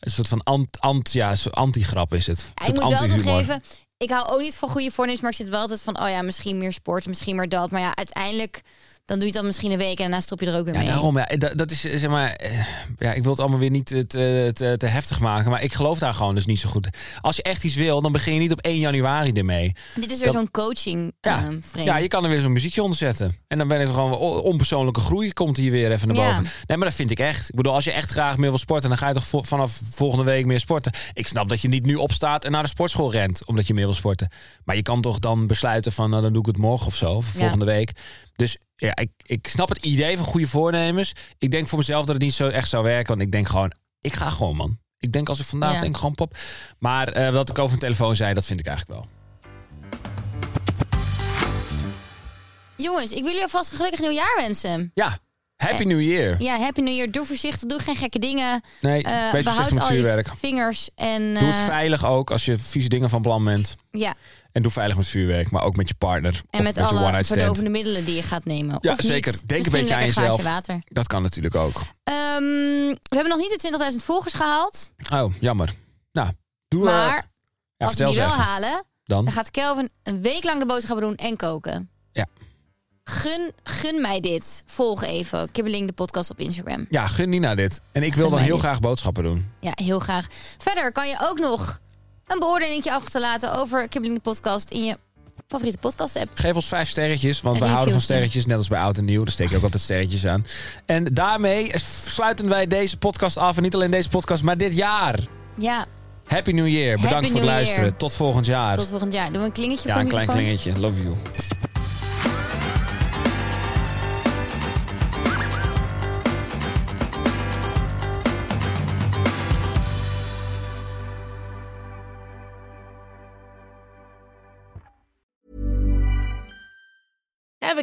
[SPEAKER 2] een soort van ant, ant, ja, zo- anti-grap is het.
[SPEAKER 3] Ja,
[SPEAKER 2] Een
[SPEAKER 3] ik
[SPEAKER 2] soort
[SPEAKER 3] moet wel
[SPEAKER 2] anti-humor.
[SPEAKER 3] toegeven, ik hou ook niet van goede voornemens, maar ik zit wel altijd van, oh ja, misschien meer sport, misschien meer dat. Maar ja, uiteindelijk, dan doe je het dan misschien een week en daarna stop je er ook weer
[SPEAKER 2] Ja,
[SPEAKER 3] mee.
[SPEAKER 2] daarom. Ja, dat, dat is, eh, zeg maar, eh, ja, ik wil het allemaal weer niet eh, te, te, te heftig maken, maar ik geloof daar gewoon dus niet zo goed. Als je echt iets wil, dan begin je niet op 1 januari ermee.
[SPEAKER 3] Dit is weer
[SPEAKER 2] Dat-
[SPEAKER 3] zo'n coaching
[SPEAKER 2] Ja.
[SPEAKER 3] ehm, frame.
[SPEAKER 2] Ja, je kan er weer zo'n muziekje onder zetten. En dan ben ik gewoon o- onpersoonlijke groei komt hier weer even naar
[SPEAKER 3] Ja.
[SPEAKER 2] boven. Nee, maar dat vind ik echt. Ik bedoel, als je echt graag meer wil sporten, dan ga je toch vo- vanaf volgende week meer sporten. Ik snap dat je niet nu opstaat en naar de sportschool rent omdat je meer wil sporten. Maar je kan toch dan besluiten van nou dan doe ik het morgen of zo, of
[SPEAKER 3] Ja.
[SPEAKER 2] volgende week. Dus ja, ik, ik snap het idee van goede voornemens. Ik denk voor mezelf dat het niet zo echt zou werken, want ik denk gewoon ik ga gewoon man. Ik denk als ik vandaag
[SPEAKER 3] Ja.
[SPEAKER 2] denk gewoon pop. Maar eh wat ik over een telefoon zei, dat vind ik eigenlijk wel.
[SPEAKER 3] Jongens, ik wil jullie alvast een gelukkig nieuwjaar wensen.
[SPEAKER 2] Ja. Happy New Year.
[SPEAKER 3] Ja, happy new year. Doe voorzichtig, doe geen gekke dingen.
[SPEAKER 2] Nee,
[SPEAKER 3] Eh,
[SPEAKER 2] wees voorzichtig
[SPEAKER 3] behoud
[SPEAKER 2] met
[SPEAKER 3] al je
[SPEAKER 2] vuurwerk.
[SPEAKER 3] vingers en...
[SPEAKER 2] Doe het
[SPEAKER 3] eh,
[SPEAKER 2] veilig ook als je vieze dingen van plan bent.
[SPEAKER 3] ja,
[SPEAKER 2] En doe veilig met vuurwerk, maar ook met je partner.
[SPEAKER 3] en
[SPEAKER 2] of
[SPEAKER 3] met
[SPEAKER 2] je
[SPEAKER 3] alle
[SPEAKER 2] one-night stand.
[SPEAKER 3] verdovende middelen die je gaat nemen.
[SPEAKER 2] Ja,
[SPEAKER 3] Of niet.
[SPEAKER 2] zeker. Denk een
[SPEAKER 3] Misschien
[SPEAKER 2] beetje aan
[SPEAKER 3] lekker glaasje
[SPEAKER 2] jezelf.
[SPEAKER 3] water.
[SPEAKER 2] Dat kan natuurlijk ook.
[SPEAKER 3] Ehm, we hebben nog niet de 20.000 volgers gehaald.
[SPEAKER 2] Oh, jammer. Nou, doe eh,
[SPEAKER 3] Maar
[SPEAKER 2] ja,
[SPEAKER 3] als we
[SPEAKER 2] vertel eens
[SPEAKER 3] die wel
[SPEAKER 2] even. Hm?
[SPEAKER 3] halen,
[SPEAKER 2] Dan.
[SPEAKER 3] Dan gaat Kelvin een week lang de boodschappen doen en koken.
[SPEAKER 2] Ja.
[SPEAKER 3] Gun, gun mij dit. Volg even Kibbeling de podcast op Instagram.
[SPEAKER 2] Ja, gun Nina dit. En ik wil
[SPEAKER 3] Gun
[SPEAKER 2] dan
[SPEAKER 3] mij
[SPEAKER 2] heel
[SPEAKER 3] dit.
[SPEAKER 2] graag boodschappen doen.
[SPEAKER 3] Ja, heel graag. Verder kan je ook nog een beoordelingje achterlaten over Kibbeling de podcast in je favoriete podcast app.
[SPEAKER 2] Geef ons vijf sterretjes, want
[SPEAKER 3] En
[SPEAKER 2] we houden van
[SPEAKER 3] reviewtje.
[SPEAKER 2] sterretjes. Net als bij oud en nieuw, daar steken ook altijd sterretjes aan. En daarmee sluiten wij deze podcast af. En niet alleen deze podcast, maar dit jaar.
[SPEAKER 3] Ja,
[SPEAKER 2] Happy New Year. Bedankt
[SPEAKER 3] Happy
[SPEAKER 2] voor het
[SPEAKER 3] New
[SPEAKER 2] luisteren.
[SPEAKER 3] Year.
[SPEAKER 2] Tot volgend jaar.
[SPEAKER 3] tot volgend jaar. Doe een klingetje
[SPEAKER 2] ja,
[SPEAKER 3] voor
[SPEAKER 2] een
[SPEAKER 3] mijn
[SPEAKER 2] klein
[SPEAKER 3] microfoon.
[SPEAKER 2] klingetje. Love you.
[SPEAKER 4] Ever